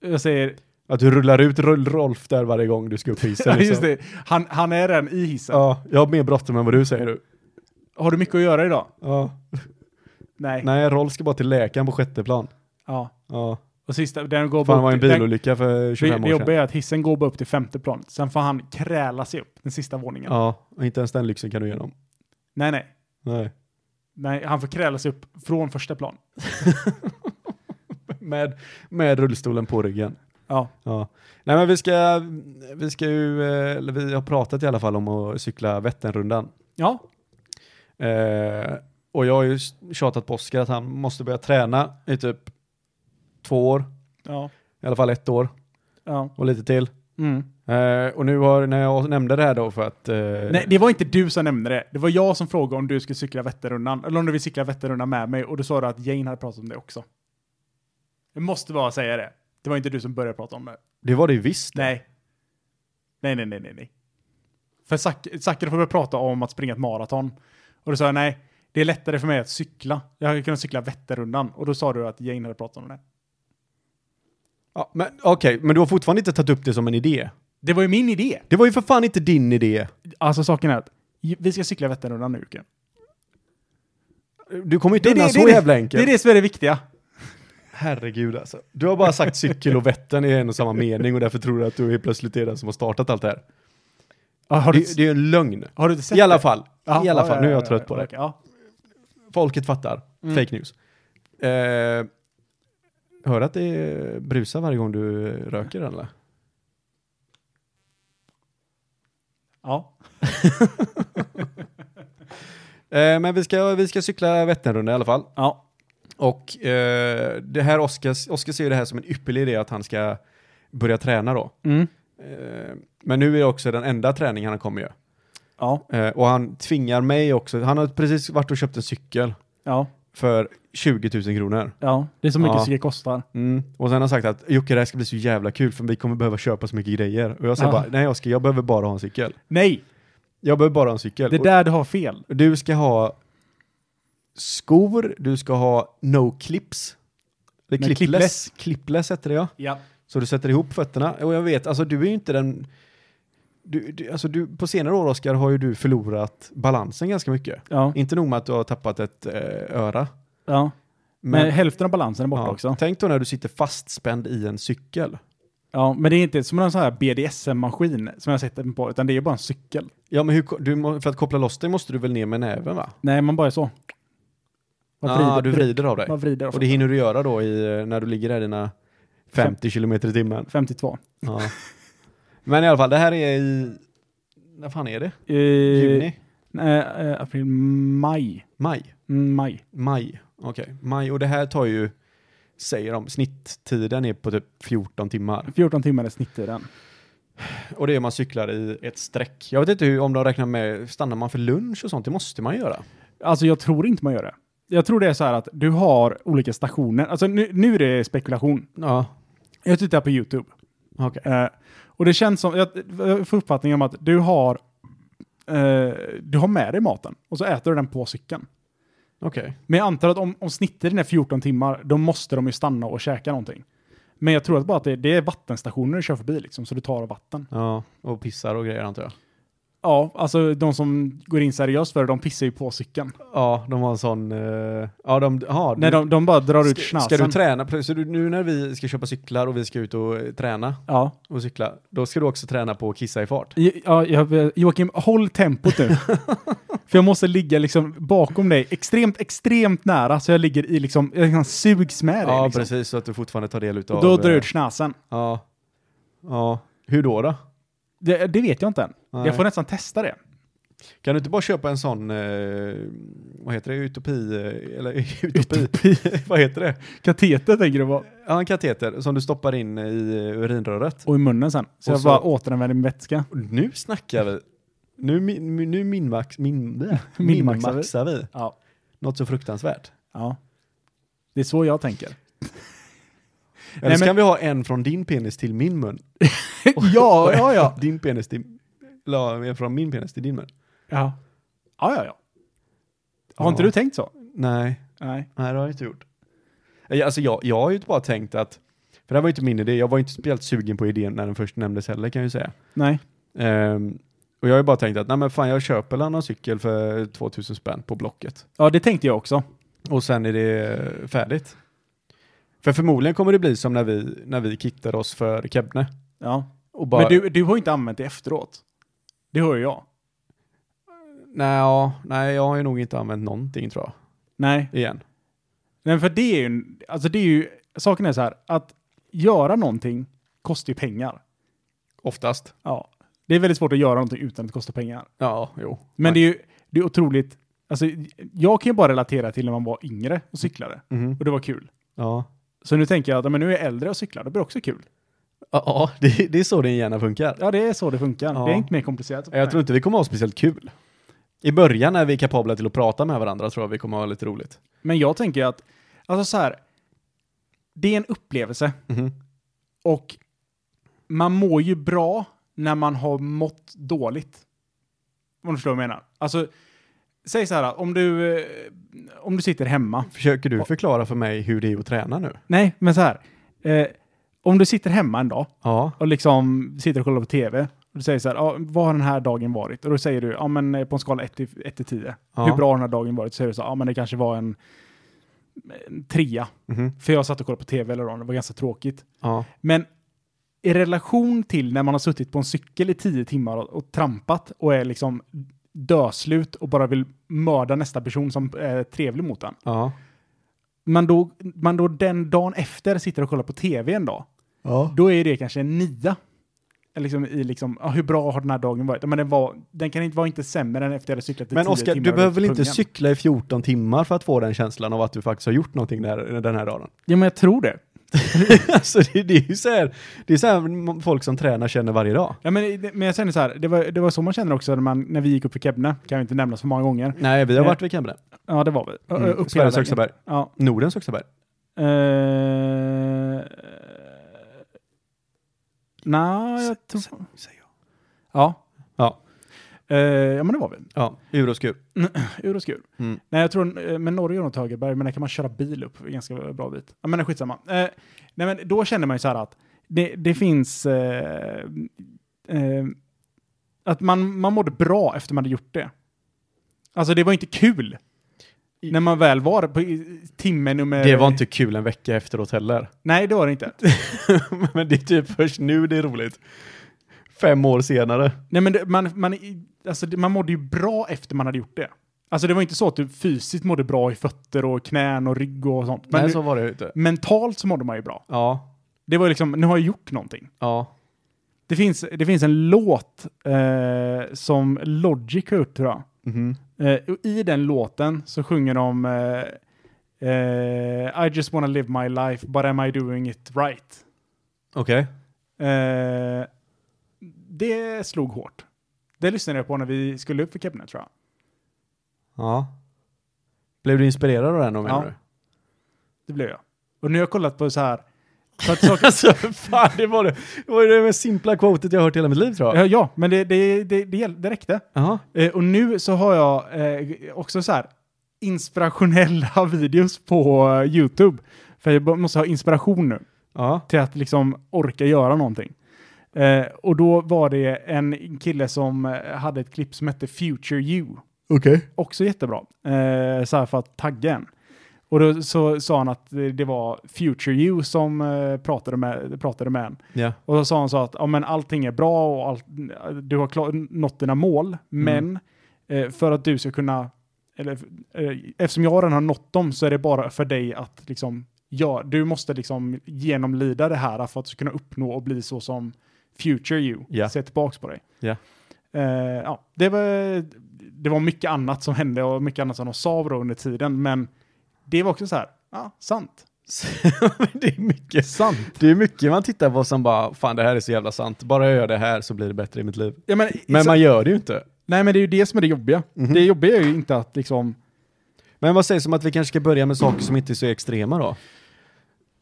S4: Jag säger,
S3: Att du rullar ut Rull Rolf där varje gång du ska upp i hissen.
S4: ja, just
S3: liksom.
S4: det, han, han är den i hissen.
S3: Ja, jag har mer bråttom än vad du säger du.
S4: Har du mycket att göra idag?
S3: Ja.
S4: Nej.
S3: Nej, Rolf ska bara till läkaren på sjätte plan.
S4: Ja.
S3: Ja.
S4: Och sista, den går bara
S3: Fan, det var
S4: upp
S3: en
S4: till- den-
S3: bilolycka för 25
S4: det, det
S3: år sedan.
S4: jobbiga är att hissen går bara upp till femte planet. Sen får han kräla sig upp den sista våningen.
S3: Ja, och inte ens den lyxen kan du ge dem.
S4: Nej, nej.
S3: Nej.
S4: Nej, han får kräla sig upp från första plan.
S3: Med, med rullstolen på ryggen.
S4: Ja.
S3: Ja. Nej men vi ska, vi ska ju, eh, eller vi har pratat i alla fall om att cykla Vätternrundan.
S4: Ja.
S3: Eh, och jag har ju tjatat på Oskar att han måste börja träna i typ två år,
S4: Ja.
S3: i alla fall ett år
S4: ja.
S3: och lite till.
S4: Mm.
S3: Eh, och nu har, när jag nämnde det här då för att... Eh,
S4: Nej, det var inte du som nämnde det. Det var jag som frågade om du skulle cykla Vätternrundan, eller om du vill cykla Vätternrundan med mig, och då sa du att Jane hade pratat om det också. Jag måste bara säga det. Det var inte du som började prata om det.
S3: det var det ju visst.
S4: Nej. Nej, nej, nej, nej, nej. För Zac- Zackari får börja prata om att springa ett maraton. Och då sa jag nej, det är lättare för mig att cykla. Jag hade kunnat cykla Vätternrundan. Och då sa du att Jane hade pratat om det.
S3: Ja, men Okej, men du har fortfarande inte tagit upp det som en idé.
S4: Det var ju min idé.
S3: Det var ju för fan inte din idé.
S4: Alltså saken är att j- vi ska cykla Vätternrundan nu, Jocke.
S3: Du kommer ju inte
S4: det,
S3: undan så
S4: det,
S3: jävla
S4: det är
S3: enkelt.
S4: det som är det viktiga.
S3: Herregud alltså. Du har bara sagt cykel och Vättern i en och samma mening och därför tror du att du är plötsligt är den som har startat allt det här.
S4: Har du,
S3: Det, det är ju en lögn.
S4: har du inte sett
S3: I alla
S4: det?
S3: fall,
S4: Ja,
S3: i alla
S4: ja,
S3: fall.
S4: ja,
S3: Nu är jag
S4: ja,
S3: trött
S4: ja,
S3: på det.
S4: okej, Mm. ja.
S3: Folket fattar. Fake news. Eh, hör att det brusar varje gång du röker eller?
S4: ja.
S3: Eh, men vi ska, vi ska cykla Vätternrundan i alla fall.
S4: ja.
S3: Och eh, det här Oskar, Oskar ser ju det här som en ypperlig idé att han ska börja träna då.
S4: Mm.
S3: Eh, men nu är det också den enda träningen han kommer göra.
S4: Ja.
S3: Eh, och han tvingar mig också. Han har precis varit och köpt en cykel
S4: Ja.
S3: för 20 000 kronor.
S4: Ja. Det är så mycket
S3: Ja.
S4: cykel kostar.
S3: Mm. Och sen har han sagt att Jocke det här ska bli så jävla kul för vi kommer behöva köpa så mycket grejer. Och jag säger
S4: Ja.
S3: bara nej Oskar jag behöver bara ha en cykel.
S4: Nej,
S3: Jag behöver bara ha en cykel.
S4: det är där du har fel.
S3: Och Du ska ha skor, du ska ha no clips. Eller
S4: Nej,
S3: clipless. Clipless heter det ja.
S4: Ja.
S3: Så du sätter ihop fötterna. Och jag vet, alltså du är ju inte den... Du, du, alltså du, på senare år, Oskar, har ju du förlorat balansen ganska mycket.
S4: Ja.
S3: Inte nog med att du har tappat ett eh, öra.
S4: ja. Men, hälften av balansen är borta
S3: ja,
S4: också.
S3: Tänk då när du sitter fastspänd i en cykel.
S4: Ja, men det är inte som en sån här BDSM-maskin som jag sett den på, utan det är bara en cykel.
S3: Ja, men hur, ko- du, må- för att koppla loss dig måste du väl ner med näven, va?
S4: Nej, man bara är så. Man
S3: ah, du vrider av dig.
S4: Man vrider
S3: Och det hinner du göra då i, eh, när du ligger där i dina 50 kilometer i timmen.
S4: 52.
S3: Ja. Men i alla fall, det här är i... När fan är det?
S4: Eh,
S3: Juni?
S4: Nej, eh, april, maj.
S3: Maj?
S4: Mm, maj.
S3: Maj, okej. Maj, och det här tar ju, säger de, snitttiden är på typ 14 timmar.
S4: 14 timmar är snitttiden.
S3: Och det är man cyklar i ett streck. Jag vet inte hur, om de räknar med, stannar man för lunch och sånt? Det måste man göra.
S4: Alltså jag tror inte man gör det. Jag tror det är så här att du har olika stationer. Alltså nu, nu är det spekulation.
S3: Ja,
S4: Jag tittar på YouTube.
S3: okej.
S4: Eh, och det känns som, jag, jag får uppfattningen om att du har, eh, du har med dig maten och så äter du den på cykeln.
S3: Okej.
S4: Men jag antar att om, om snittet är 14 timmar, då måste de ju stanna och käka någonting. Men jag tror att bara att det, det är vattenstationer du kör förbi liksom, så du tar vatten.
S3: Ja, och pissar och grejer antar jag.
S4: Ja, alltså de som går in seriöst för det, de pissar ju på cykeln.
S3: Ja, de har en sån, eh, ja de, ja,
S4: Nej, de, de bara drar ut
S3: ska,
S4: snasen.
S3: ska du träna? Pre- Så du, nu när vi ska köpa cyklar och vi ska ut och eh, träna
S4: Ja.
S3: och cykla, då ska du också träna på att kissa i fart?
S4: Jo- Ja, jag, Joakim, håll tempot nu. För jag måste ligga liksom bakom dig, extremt, extremt nära, så jag ligger i liksom, jag liksom sugs med dig.
S3: Ja,
S4: liksom.
S3: precis, så att du fortfarande tar del utav...
S4: Och då drar du
S3: eh,
S4: ut snasen.
S3: Ja. Ja. Hur då då?
S4: Det, det vet jag inte än.
S3: Nej.
S4: Jag får nästan testa det.
S3: Kan du inte bara köpa en sån, eh, vad heter det, utopi, eh, eller utopi, vad heter det?
S4: Kateter tänker du på.
S3: Ja, en kateter som du stoppar in i eh, urinröret.
S4: Och i munnen sen. Så
S3: Och
S4: jag
S3: så-
S4: bara återanvänder min vätska.
S3: Och nu snackar vi. Nu, min, min- nu minmax, min,
S4: Minmaxar vi.
S3: minmaxar vi.
S4: Ja.
S3: Något så fruktansvärt.
S4: ja. Det är så jag tänker.
S3: Eller
S4: Nej,
S3: så
S4: men-
S3: kan vi ha en från din penis till min mun.
S4: ja, ja, ja.
S3: Från Din penis till... Eller en från min penis till din mun.
S4: Ja, ja, ja. ja. Har
S3: Ja.
S4: inte du tänkt så?
S3: Nej,
S4: Nej.
S3: nej det har jag inte gjort. Eh, Alltså jag, jag har ju bara tänkt att, för det här var ju inte min idé, jag var ju inte speciellt sugen på idén när den först nämndes heller kan jag ju säga.
S4: Nej.
S3: Ehm, och jag har ju bara tänkt att, nej men fan jag köper en annan cykel för 2000 spänn på Blocket.
S4: Ja, det tänkte jag också.
S3: Och sen är det eh, färdigt. För förmodligen kommer det bli som när vi, när vi kittade oss för Kebne.
S4: Ja.
S3: Och bara,
S4: Men du, du har ju inte använt det efteråt. Det hör ju jag.
S3: nej, ja, nej jag har ju nog inte använt någonting tror
S4: Nej.
S3: jag, igen.
S4: Nej, för det är ju, en- alltså det är ju, saken är så här, att göra någonting kostar ju pengar.
S3: Oftast.
S4: Ja. Det är väldigt svårt att göra någonting utan att det kostar pengar.
S3: Ja, jo.
S4: Men det är ju, det är otroligt, alltså jag kan ju bara relatera till när man var yngre och cyklade.
S3: Mhm.
S4: Och det var kul.
S3: Ja.
S4: Så nu tänker jag att ja, men nu är jag äldre och cyklar, det blir också kul.
S3: Ja, ja det, det är så din hjärna funkar.
S4: Ja, det är så det funkar.
S3: Ja.
S4: Det är inte mer komplicerat.
S3: Jag tror inte vi kommer ha speciellt kul. I början är vi kapabla till att prata med varandra tror jag vi kommer ha lite roligt.
S4: Men jag tänker att, alltså så här, det är en upplevelse
S3: Mm-hmm.
S4: och man mår ju bra när man har mått dåligt. Om du förstår vad jag menar. Alltså, säg så här, om du, eh, om du sitter hemma.
S3: Försöker du förklara för mig hur det är att träna nu?
S4: Nej, men så här. Eh, om du sitter hemma en dag
S3: Ja.
S4: och liksom sitter och kollar på tv. Och du säger så här, ah, vad har den här dagen varit? Och då säger du, ja ah, men eh, på en skala 1 till, 1 till 10,
S3: Ja.
S4: hur bra har den här dagen varit? Så säger du så här, ja ah, men det kanske var en, en trea.
S3: Mhm.
S4: För jag satt och kollade på tv hela dagen, det var ganska tråkigt.
S3: Ja.
S4: Men i relation till när man har suttit på en cykel i tio timmar och, och trampat och är liksom döslut och bara vill mörda nästa person som eh, är trevlig mot en.
S3: Ja.
S4: Man då, man då den dagen efter sitter och kollar på tv en dag,
S3: Ja.
S4: då är det kanske en nia. Eller Liksom i liksom, ja, hur bra har den här dagen varit? Ja, Men den, var, den kan inte vara inte sämre än efter jag hade cyklat i
S3: Men
S4: tio
S3: Oskar,
S4: timmar
S3: du
S4: och
S3: behöver
S4: gått
S3: väl
S4: på
S3: inte
S4: pungen.
S3: cykla i 14 timmar för att få den känslan av att du faktiskt har gjort någonting där, den här dagen?
S4: Ja, men jag tror det.
S3: alltså det, det är ju så här, det är så här folk som tränar känner varje dag.
S4: Ja, men, men jag känner så här, det var, det var så man känner också när, man, när vi gick upp för Kebne, kan ju inte nämnas för många gånger.
S3: Nej, vi har
S4: Nej.
S3: varit vid Kebne.
S4: Ja, det var vi. Ö- ö-
S3: Mm.
S4: Upp hela
S3: Sveriges högsta
S4: vägen.
S3: berg.
S4: Ja.
S3: Nordens högsta berg.
S4: Uh, Nej, jag tror...
S3: säger jag.
S4: Ja.
S3: Ja.
S4: Eh, ja, men det var vi.
S3: Ja, ur och skur.
S4: Ur och skur.
S3: Mm.
S4: Nej, jag tror, eh, men Norge har något högerberg, men där kan man köra bil upp ganska bra bit. Ja, men skitsamma. Eh, nej, men då känner man ju så här att det, det finns... Eh, eh, att man, man mådde bra efter man hade gjort det. Alltså det var inte kul. När man väl var på i- timme nummer...
S3: Det var inte kul en vecka efteråt heller.
S4: Nej, det var det inte.
S3: Men det är typ först nu det är roligt. Fem år senare.
S4: Nej, men det, man, man, i- alltså, det, man mådde ju bra efter man hade gjort det. Alltså det var inte så att du fysiskt mådde bra i fötter och knän och rygg och sånt. Men
S3: Nej,
S4: du,
S3: så var det ju inte.
S4: mentalt så mådde man ju bra.
S3: Ja,
S4: Det var ju liksom, nu har jag gjort någonting.
S3: ja.
S4: Det finns, det finns en låt eh, som Logic har gjort tror jag.
S3: Mhm.
S4: Eh, och I den låten så sjunger de eh, eh, I just wanna live my life but am I doing it right?
S3: Okej.
S4: Eh, det slog hårt. Det lyssnade jag på när vi skulle upp för Kebne tror jag.
S3: Ja. Blev du inspirerad av den då menar
S4: Ja.
S3: du?
S4: Det blev jag. Och nu har jag kollat på så här. Så att saker,
S3: Alltså fan, det var det. Det var ju det mest simpla quotet jag har hört i hela mitt liv tror jag.
S4: ja, ja, men det, det, det, det, hjäl- det räckte.
S3: Ja.
S4: Eh, och nu så har jag eh, också så här inspirationella videos på eh, YouTube. För jag b- måste ha inspiration nu
S3: Ja.
S4: till att liksom orka göra någonting. Eh, och då var det en kille som eh, hade ett klipp som hette Future You.
S3: Okej.
S4: Också jättebra. Eh, så här för att tagga en. Och då så sa han att eh, det var Future You som eh, pratade med, pratade med en.
S3: Ja.
S4: Och då sa han så att ja, men allting är bra och allt, du har klar, nått dina
S3: Mm.
S4: mål, men eh, för att du ska kunna, eller eh, eftersom jag redan har nått dem så är det bara för dig att liksom, ja, du måste liksom genomlida det här för att kunna uppnå och bli så som future you,
S3: Ja.
S4: se tillbaks på dig.
S3: Ja.
S4: Eh, ja, det, var, det var mycket annat som hände och mycket annat som de sa då under tiden, men det var också så här, ja, sant.
S3: det är mycket.
S4: Sant.
S3: Det är mycket man tittar på som bara, fan det här är så jävla sant. Bara jag gör det här så blir det bättre i mitt liv.
S4: Ja, men,
S3: Men
S4: så-
S3: man Mhm. gör det ju inte.
S4: Nej, men det är ju det som är det jobbiga. Det jobbiga är ju inte att liksom...
S3: Men vad sägs om att vi kanske ska börja med saker som inte är så extrema då?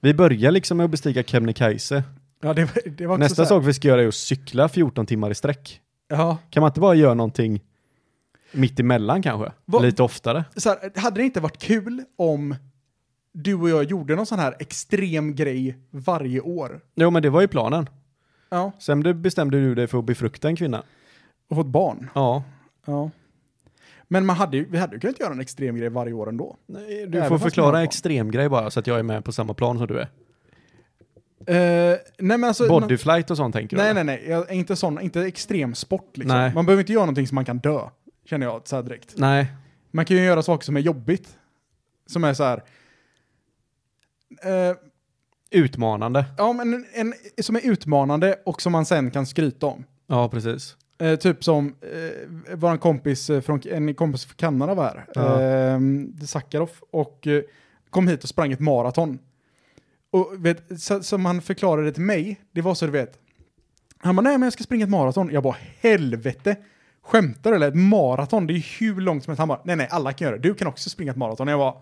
S3: Vi börjar liksom med att bestiga Kebnekaise.
S4: Ja, det, var- det var också
S3: Nästa
S4: så här-
S3: sak vi ska göra är att cykla 14 timmar i sträck.
S4: Ja.
S3: Kan man inte bara göra någonting mitt emellan kanske?
S4: Va-
S3: Lite oftare.
S4: så här, hade det inte varit kul om du och jag gjorde någon sån här extrem grej varje år?
S3: Jo, men det var ju planen.
S4: Ja.
S3: Sen du- bestämde du dig för att befrukta en kvinna.
S4: Och fått barn?
S3: Ja.
S4: Ja. Men man hade ju, vi hade ju kunnat göra en extrem grej varje år ändå.
S3: Nej,
S4: Även
S3: Du får
S4: fast man
S3: förklara
S4: har
S3: extremgrej bara så att jag är med på samma plan som du är.
S4: Eh, nej men alltså...
S3: Bodyflight och sånt tänker du?
S4: Nej,
S3: eller?
S4: nej, nej. Jag, inte sån, inte extremsport liksom.
S3: Nej.
S4: Man behöver inte göra någonting som man kan dö, känner jag så här direkt.
S3: Nej.
S4: Man kan ju göra saker som är jobbigt. Som är så här... eh,
S3: Utmanande.
S4: ja, men en, en, som är utmanande och som man sen kan skryta om.
S3: Ja, precis.
S4: Eh, typ som eh, vår kompis eh, från, en kompis från Kanada var här,
S3: Ja.
S4: eh, Sakharov, och eh, kom hit och sprang ett maraton. Och vet, så, som han förklarade till mig, det var så du vet, han bara nej men jag ska springa ett maraton. Jag bara helvete, skämtar du eller? Ett maraton, det är ju hur långt som helst. Han bara nej nej alla kan göra det, du kan också springa ett maraton. Jag bara,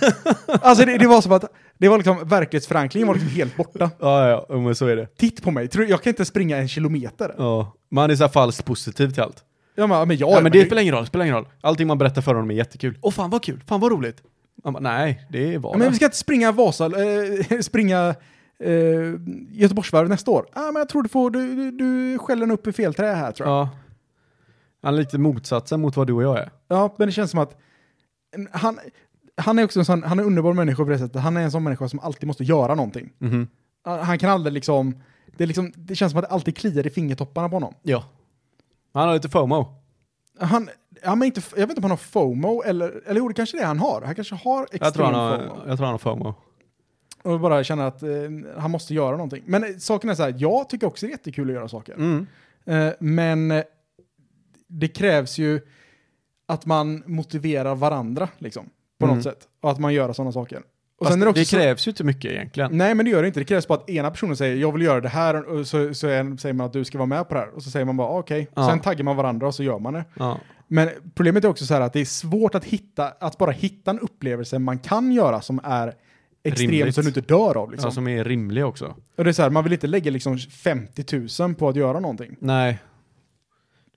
S4: alltså det, det var som att, det var liksom verklighetsförankringen var liksom helt borta.
S3: Ja, ja, ja, men så är det.
S4: Titt på mig, tror, jag kan inte springa en kilometer.
S3: Ja. Man är så här falskt positiv till allt.
S4: Jag bara, men jag
S3: Ja, men det
S4: du-
S3: spelar ingen roll, spelar ingen roll. Allting man berättar för honom är jättekul. Åh fan vad kul, fan vad roligt. Man bara, nej, det är
S4: Ja,
S3: vardag.
S4: men vi ska inte springa Vasa, eh, springa eh, Göteborgsvarvet nästa år. Ah, men jag tror du får, du, du, du skäller nog upp i fel trä här tror jag.
S3: Ja. Han är lite motsatsen mot vad du och jag är.
S4: Ja. men det känns som att en- han, han är också en sån, han är en underbar människa på det sättet. Han är en sån människa som alltid måste göra någonting. Han, han kan aldrig liksom, det, är liksom, det känns som att det alltid kliar i fingertopparna på honom.
S3: Ja. Han har lite FOMO.
S4: Han, han är inte, jag vet inte om han har FOMO eller, eller jo det kanske är det han har. Han kanske har extrem
S3: Jag tror han har,
S4: FOMO.
S3: jag tror han har FOMO.
S4: Och bara känner att eh, han måste göra någonting. Men eh, saken är så här, jag tycker också det är jättekul att göra saker.
S3: Mm.
S4: Eh, men eh, det krävs ju att man motiverar varandra liksom, på
S3: Mm.
S4: något sätt. Och att man gör sådana saker. Och
S3: Fast
S4: sen är det, också så-
S3: krävs ju inte mycket egentligen.
S4: Nej, men det gör det inte. Det krävs bara att ena personen säger jag vill göra det här och så, så är, säger man att du ska vara med på det här. Och så säger man bara "Ah, okej.
S3: Ja.
S4: Sen taggar man varandra och så gör man det.
S3: Ja.
S4: Men problemet är också så här att det är svårt att hitta, att bara hitta en upplevelse man kan göra som är extrem
S3: Rimligt.
S4: som du inte dör av. Liksom.
S3: Ja, Alltså, som är rimlig också.
S4: Och det är så här, man vill inte lägga liksom 50 000 på att göra någonting.
S3: Nej.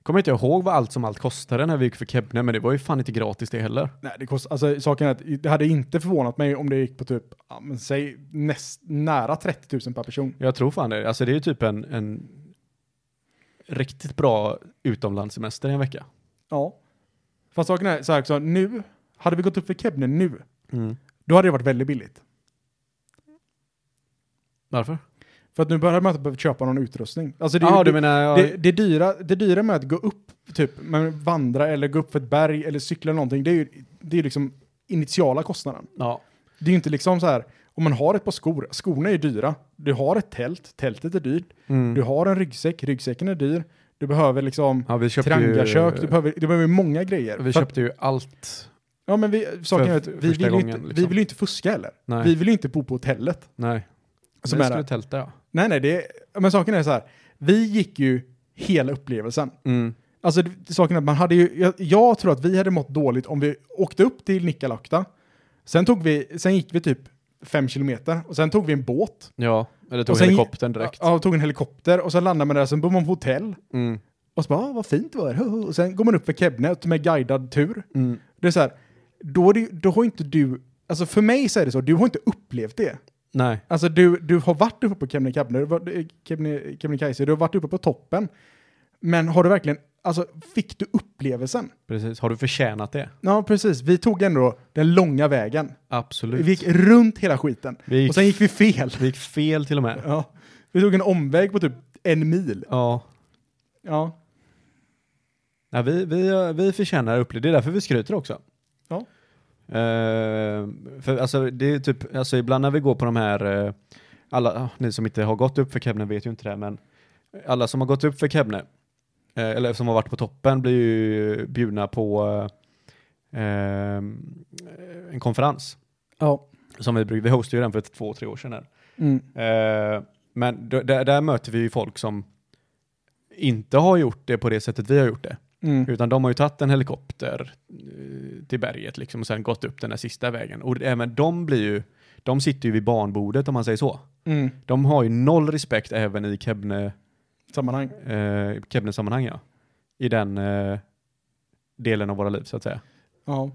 S3: Kommer inte ihåg vad allt som allt kostade när vi gick för Kebne, men det var ju fan inte gratis det heller.
S4: Nej, det kostar, alltså saken är att det hade inte förvånat mig om det gick på typ, ja, men säg näst, nära 30 000 per person.
S3: Jag tror fan det. Alltså det är ju typ en, en riktigt bra utomlandssemester i en vecka.
S4: Ja. Fast saken är så här också, nu, hade vi gått upp för Kebne nu,
S3: Mm.
S4: då hade det varit väldigt billigt.
S3: Varför?
S4: För att nu börjar man inte behöva köpa någon utrustning. Alltså det,
S3: Ja,
S4: det,
S3: du menar... Ja,
S4: det, det, dyra, det dyra med att gå upp, typ, men vandra eller gå upp för ett berg eller cykla eller någonting, det är ju det är liksom initiala kostnaden.
S3: ja.
S4: Det är ju inte liksom så här, om man har ett par skor, skorna är ju dyra. Du har ett tält, tältet är dyrt.
S3: Mm.
S4: Du har en ryggsäck, ryggsäcken är dyr. Du behöver liksom
S3: ja vi köpte ju...
S4: triangakök, du behöver, du behöver många grejer.
S3: Vi
S4: För att-
S3: köpte ju allt.
S4: ja, men vi, saken är att
S3: för
S4: vi vill,
S3: första
S4: ju
S3: gången,
S4: inte, vi
S3: liksom.
S4: vill ju inte fuska heller.
S3: Nej.
S4: Vi vill ju inte bo på hotellet.
S3: Nej.
S4: Som
S3: vi
S4: är
S3: skulle
S4: det.
S3: tälta, ja.
S4: Nej, nej, det, är- men saken är så här, vi gick ju hela upplevelsen.
S3: Mm.
S4: Alltså det- saken är att man hade ju, jag, jag tror att vi hade mått dåligt om vi åkte upp till Nikkaluokta, sen tog vi, sen gick vi typ fem kilometer och sen tog vi en båt
S3: Ja, eller tog
S4: Och sen-
S3: helikoptern direkt.
S4: Ja, och tog en helikopter och sen landade man där, sen bor man på hotell.
S3: Mm.
S4: Och så bara, ah, vad fint det var här. Och sen går man upp för Kebne med guidad tur. Det är så här, då, är det, ju- då har inte du, alltså för mig så är det så, du har inte upplevt det.
S3: Nej.
S4: Alltså du, du har varit uppe på Kebnekaise, du, har varit- eh, Kebne- Kebnekaise, du har varit uppe på toppen. Men har du verkligen, alltså fick du upplevelsen?
S3: Precis. Har du förtjänat det?
S4: Ja, precis. Vi tog ändå den långa vägen.
S3: Absolut.
S4: Vi gick runt hela skiten.
S3: Vi gick-
S4: Och sen gick vi fel.
S3: Vi gick fel till och med.
S4: Ja. Vi tog en omväg på typ en mil.
S3: Ja.
S4: Ja,
S3: Nej, vi, vi, vi förtjänar upplevelse. Det är därför vi skryter också.
S4: Ja.
S3: Eh, för alltså, det är typ, alltså ibland när vi går på de här, eh, alla, ah, ni som inte har gått upp för Kebne vet ju inte det, här, men alla som har gått upp för Kebne, eh, eller som har varit på toppen, blir ju bjudna på eh, eh, en konferens.
S4: Ja.
S3: Som vi, brukar- vi hostade ju den för två, tre år sedan. Här.
S4: Mm.
S3: Eh, men d- där, där möter vi ju folk som inte har gjort det på det sättet vi har gjort det.
S4: Mm.
S3: Utan de har ju tagit en helikopter eh, till berget liksom och sen gått upp den här sista vägen. Och även de blir ju, de sitter ju vid barnbordet om man säger så.
S4: Mm.
S3: De har ju noll respekt även i Kebne,
S4: Sammanhang.
S3: eh, Kebne-sammanhang, ja. I den eh, delen av våra liv, så att säga.
S4: Ja.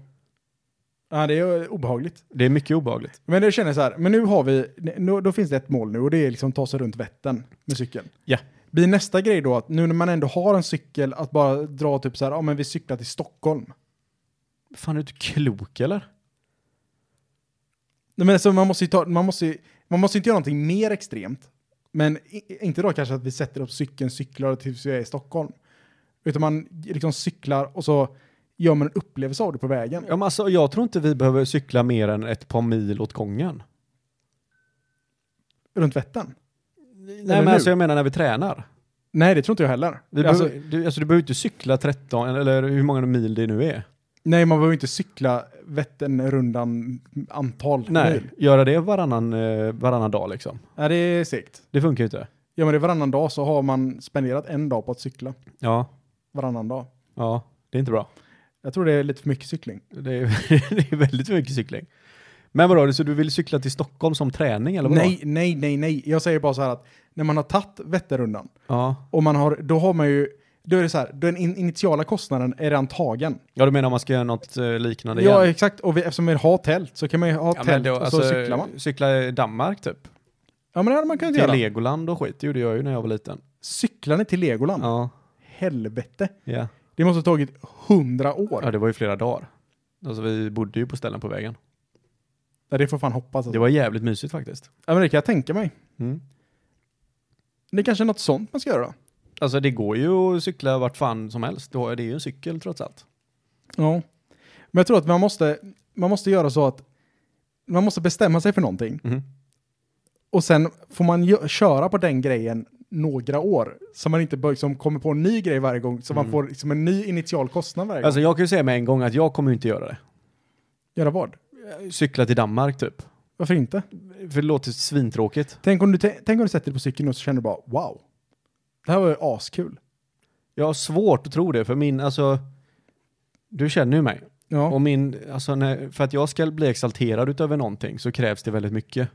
S4: Ja, det är eh, obehagligt.
S3: Det är mycket obehagligt.
S4: Men jag känner så här, men nu har vi, nu, då finns det ett mål nu och det är liksom ta sig runt Vättern med cykeln.
S3: Ja.
S4: Blir nästa grej då att nu när man ändå har en cykel att bara dra typ så här, ja men vi cyklar till Stockholm.
S3: Fan, är du inte klok eller?
S4: Nej, men alltså, man måste ju ta, man måste, ju- man måste inte göra någonting mer extremt. Men i, inte då kanske att vi sätter upp cykeln, cyklar tills vi är i Stockholm. Utan man liksom cyklar och så gör man en upplevelse av det på vägen.
S3: Ja, men alltså, jag tror inte vi behöver cykla mer än ett par mil åt gången.
S4: Runt Vättern.
S3: Nej,
S4: Eller
S3: men
S4: nu?
S3: alltså, jag menar när vi tränar.
S4: Nej, det tror inte jag heller.
S3: Vi
S4: Alltså,
S3: behöver, du, alltså, du behöver inte cykla 13, eller hur många mil det nu är.
S4: Nej, man behöver inte cykla Vätternrundan antal
S3: Nej,
S4: mil.
S3: göra det varannan, eh, varannan dag liksom.
S4: Nej, det är segt.
S3: Det funkar ju inte.
S4: Ja, men det är varannan dag så har man spenderat en dag på att cykla.
S3: Ja,
S4: Varannan dag.
S3: ja, det är inte bra.
S4: Jag tror det är lite för mycket cykling.
S3: Det är, det är väldigt mycket cykling. Men vadå, så du vill cykla till Stockholm som träning eller vadå?
S4: Nej, nej, nej, nej. Jag säger bara så här att när man har tagit Vätternrundan
S3: Ja.
S4: och man har, då har man ju, då är det så här, den in, initiala kostnaden är redan tagen.
S3: ja, du menar om man ska göra något eh, liknande
S4: Ja,
S3: igen?
S4: exakt. Och vi, eftersom vi har tält så kan man ju ha
S3: Ja, men
S4: tält
S3: då,
S4: och
S3: alltså,
S4: så cyklar man.
S3: Cykla i Danmark typ.
S4: Ja, men det hade man kunnat
S3: Till
S4: göra.
S3: Legoland och skit, det gjorde jag ju när jag var liten.
S4: Cyklar ni till Legoland?
S3: Ja,
S4: Helvete.
S3: ja.
S4: Det måste ha tagit hundra år.
S3: ja det var ju flera dagar. Alltså vi bodde ju på ställen på vägen.
S4: Ja, det får fan hoppas.
S3: Det
S4: Alltså.
S3: var jävligt mysigt faktiskt.
S4: Ja, men det kan jag tänka mig.
S3: Mm.
S4: Det är kanske är något sånt man ska göra då?
S3: Alltså det går ju att cykla vart fan som helst. Du har- Det är ju en cykel trots allt.
S4: Ja. Men jag tror att man måste, man måste göra så att man måste bestämma sig för någonting
S3: Mhm.
S4: och sen får man gö- köra på den grejen några år så man inte bör, liksom, kommer på en ny grej varje gång så man får liksom, en ny initial kostnad varje
S3: Alltså jag kan ju säga med en gång att jag kommer ju inte göra det.
S4: gång. Göra vad?
S3: Cykla till Danmark typ.
S4: Varför inte?
S3: För det låter svintråkigt.
S4: Tänk om du, tä- tänk om du sätter dig på cykeln och så känner du bara wow, det här var ju askul.
S3: Jag har svårt att tro det för min, alltså, du känner ju mig.
S4: Ja.
S3: Och min, alltså, när, för att jag ska bli exalterad utöver någonting så krävs det väldigt mycket.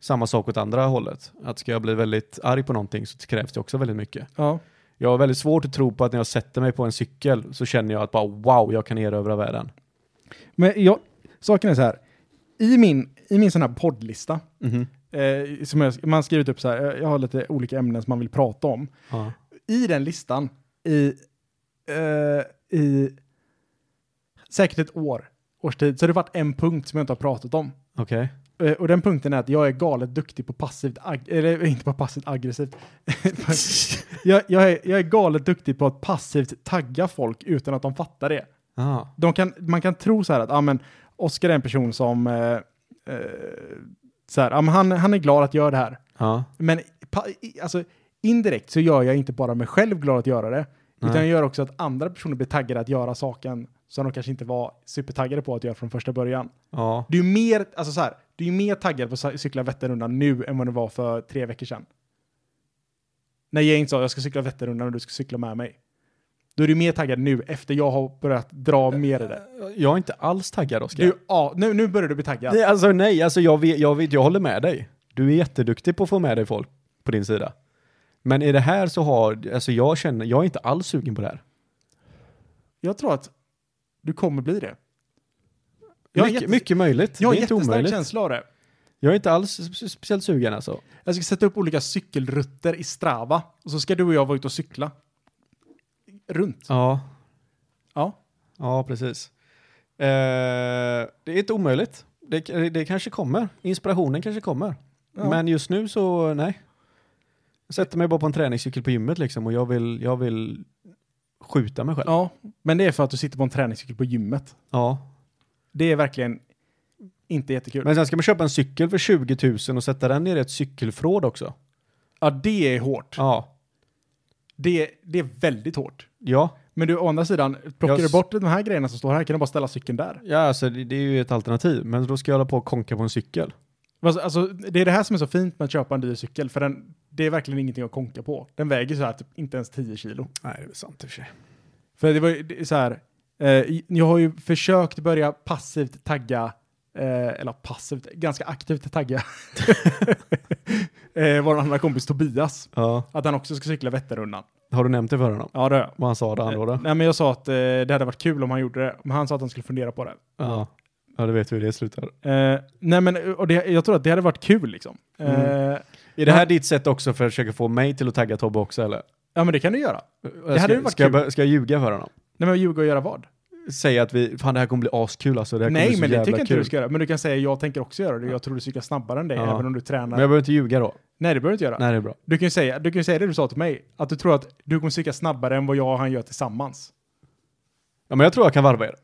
S3: Samma sak åt andra hållet. Att ska jag bli väldigt arg på någonting så krävs det också väldigt mycket.
S4: ja.
S3: Jag har väldigt svårt att tro på att när jag sätter mig på en cykel så känner jag att bara wow, jag kan erövra världen.
S4: Men jag, saken är så här, i min, i min sån här poddlista
S3: Mhm.
S4: eh, som jag, man har skrivit upp så här, eh, jag- jag har lite olika ämnen som man vill prata om.
S3: Ja.
S4: I den listan, i, eh, i säkert ett år, årstid, så har det varit en punkt som jag inte har pratat om.
S3: Okej.
S4: Eh, och den punkten är att jag är galet duktig på passivt, ag- eller eh, inte på passivt aggressivt. jag, jag, är, jag är galet duktig på att passivt tagga folk utan att de fattar det.
S3: Ja.
S4: De kan, man kan tro så här att ah, men Oscar är en person som eh, eh, så här, ah, men han, han är glad att göra det här.
S3: Ja.
S4: Men pa, i, alltså, indirekt så gör jag inte bara mig själv glad att göra det, utan
S3: Nej.
S4: jag gör också att andra personer blir taggade att göra saken som de kanske inte var supertaggade på att göra från första början.
S3: Ja.
S4: Du är mer, alltså så här, du är mer taggad på att cy- cykla Vätternrundan nu än vad du var för tre veckor sedan. När Jane sa jag ska cykla Vätternrundan och du ska cykla med mig. Då är du mer taggad nu efter jag har börjat dra mer
S3: Eh,
S4: i det.
S3: Jag är inte alls taggad Oskar.
S4: Du, ja, nu, nu börjar du bli taggad.
S3: Nej, alltså nej, alltså jag, vet, jag, vet, jag håller med dig. Du är jätteduktig på att få med dig folk på din sida. Men i det här så har, alltså jag känner, jag är inte alls sugen på det här.
S4: Jag tror att du kommer bli det. Jag har
S3: Mycket,
S4: jättes-
S3: mycket möjligt.
S4: Jag har
S3: det är inte
S4: jättestark
S3: omöjligt.
S4: känsla av det.
S3: Jag är inte alls spe- speciellt sugen alltså.
S4: Jag ska sätta upp olika cykelrutter i Strava och så ska du och jag vara ute och cykla. Runt.
S3: Ja,
S4: Ja.
S3: ja precis. Eh, det är inte omöjligt. Det, det kanske kommer. Inspirationen kanske kommer.
S4: Ja.
S3: Men just nu så, nej. Jag sätter mig bara på en träningscykel på gymmet liksom och jag vill, jag vill skjuta mig själv.
S4: ja. Men det är för att du sitter på en träningscykel på gymmet.
S3: ja.
S4: Det är verkligen inte jättekul.
S3: Men sen ska man köpa en cykel för 20 000 och sätta den i ett cykelförråd också.
S4: ja, det är hårt.
S3: Ja.
S4: Det, det är väldigt hårt.
S3: Ja,
S4: Men du, å andra sidan, plockar
S3: Jag
S4: du
S3: s-
S4: bort de här grejerna som står här kan du bara ställa cykeln där.
S3: ja alltså det, det är ju ett alternativ. Men då ska jag hålla på och konka på en cykel.
S4: Alltså, alltså, det är det här som är så fint med att köpa en dyr cykel, för den, det är verkligen ingenting att konka på. Den väger så här typ inte ens 10 kilo.
S3: Nej, det är sant i och för sig.
S4: För det var ju det är så här, eh, jag har ju försökt börja passivt tagga Eh, eller passivt, ganska aktivt tagga. eh, vår andra kompis Tobias.
S3: Ja.
S4: Att han också ska cykla Vätternrundan.
S3: Har du nämnt det för honom?
S4: Ja, det har jag.
S3: Vad han sa det andra
S4: Eh,
S3: året?
S4: Nej, men jag sa att eh, det hade varit kul om han gjorde det. Men han sa att han skulle fundera på det.
S3: Ja. ja, det vet vi hur det slutar.
S4: Eh, nej, men och det, jag tror att det hade varit kul liksom.
S3: Mm.
S4: Eh,
S3: Är det här ditt sätt också för att försöka få mig till att tagga Tobbe också eller?
S4: ja, men det kan du göra.
S3: Det
S4: hade ju varit
S3: ska, jag,
S4: kul.
S3: bör- ska jag ljuga för honom?
S4: Nej, men ljuga och göra vad?
S3: Säga att vi, fan det här kommer bli askul alltså. Det här kommer bli
S4: Nej,
S3: så
S4: men det
S3: jävla
S4: tycker jag inte
S3: kul.
S4: du ska göra. Men du kan säga jag tänker också göra det. Jag tror du cyklar snabbare än dig,
S3: Ja.
S4: även om du tränar.
S3: Men jag behöver inte ljuga då?
S4: Nej, det behöver du inte göra.
S3: Nej, det är bra.
S4: Du kan ju säga, du kan ju säga det du sa till mig, att du tror att du kommer cykla snabbare än vad jag och han gör tillsammans.
S3: Ja, men jag tror jag kan varva er.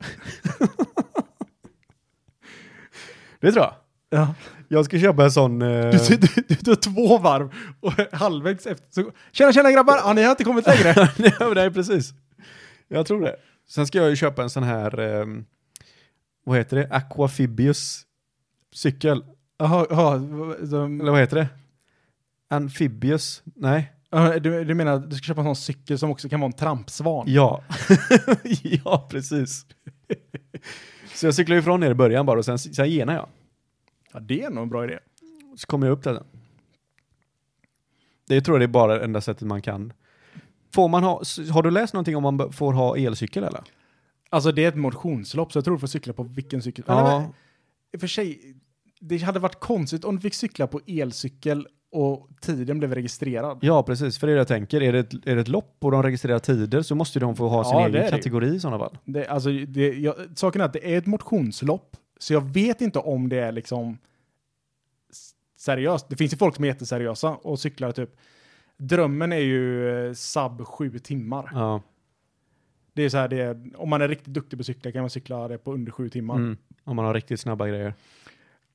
S3: det tror jag.
S4: Ja.
S3: Jag ska köpa en sån... eh,
S4: Du, du, du, du tar två varv och halvvägs efter så Tjena tjena grabbar! Ja, ni har inte kommit längre.
S3: Nej, men det är precis. Jag tror det. Sen ska jag ju köpa en sån här, ehm, vad heter det, Aquafibius cykel.
S4: Jaha, jaha, de-
S3: Eller vad heter det? Amphibius? Nej.
S4: ja, du, du menar att du ska köpa en sån cykel som också kan vara en trampsvan?
S3: Ja. ja, precis. Så jag cyklar ifrån er i början bara och sen, sen genar jag.
S4: Ja, det är nog en bra idé.
S3: Så kommer jag upp där sen. Det tror jag det är bara det enda sättet man kan. Får man ha, s- har du läst någonting om man b- får ha elcykel eller?
S4: Alltså det är ett motionslopp så jag tror du får cykla på vilken cykel. Eller, men, i och för sig, det hade varit konstigt om du fick cykla på elcykel och tiden blev registrerad.
S3: Ja, precis. För det är det jag tänker. Är det ett, är det ett lopp och de registrerar tider så måste ju de få ha sin
S4: Ja, det är
S3: egen
S4: det ju.
S3: kategori i sådana fall.
S4: Det, alltså, det, jag, saken är att det är ett motionslopp, så jag vet inte om det är liksom s- seriöst. Det finns ju folk som är jätteseriösa och cyklar typ. Drömmen är ju eh, sub sju timmar.
S3: Ja.
S4: Det är så här, det är, om man är riktigt duktig på cykla kan man cykla det på under sju timmar.
S3: Mm. Om man har riktigt snabba grejer.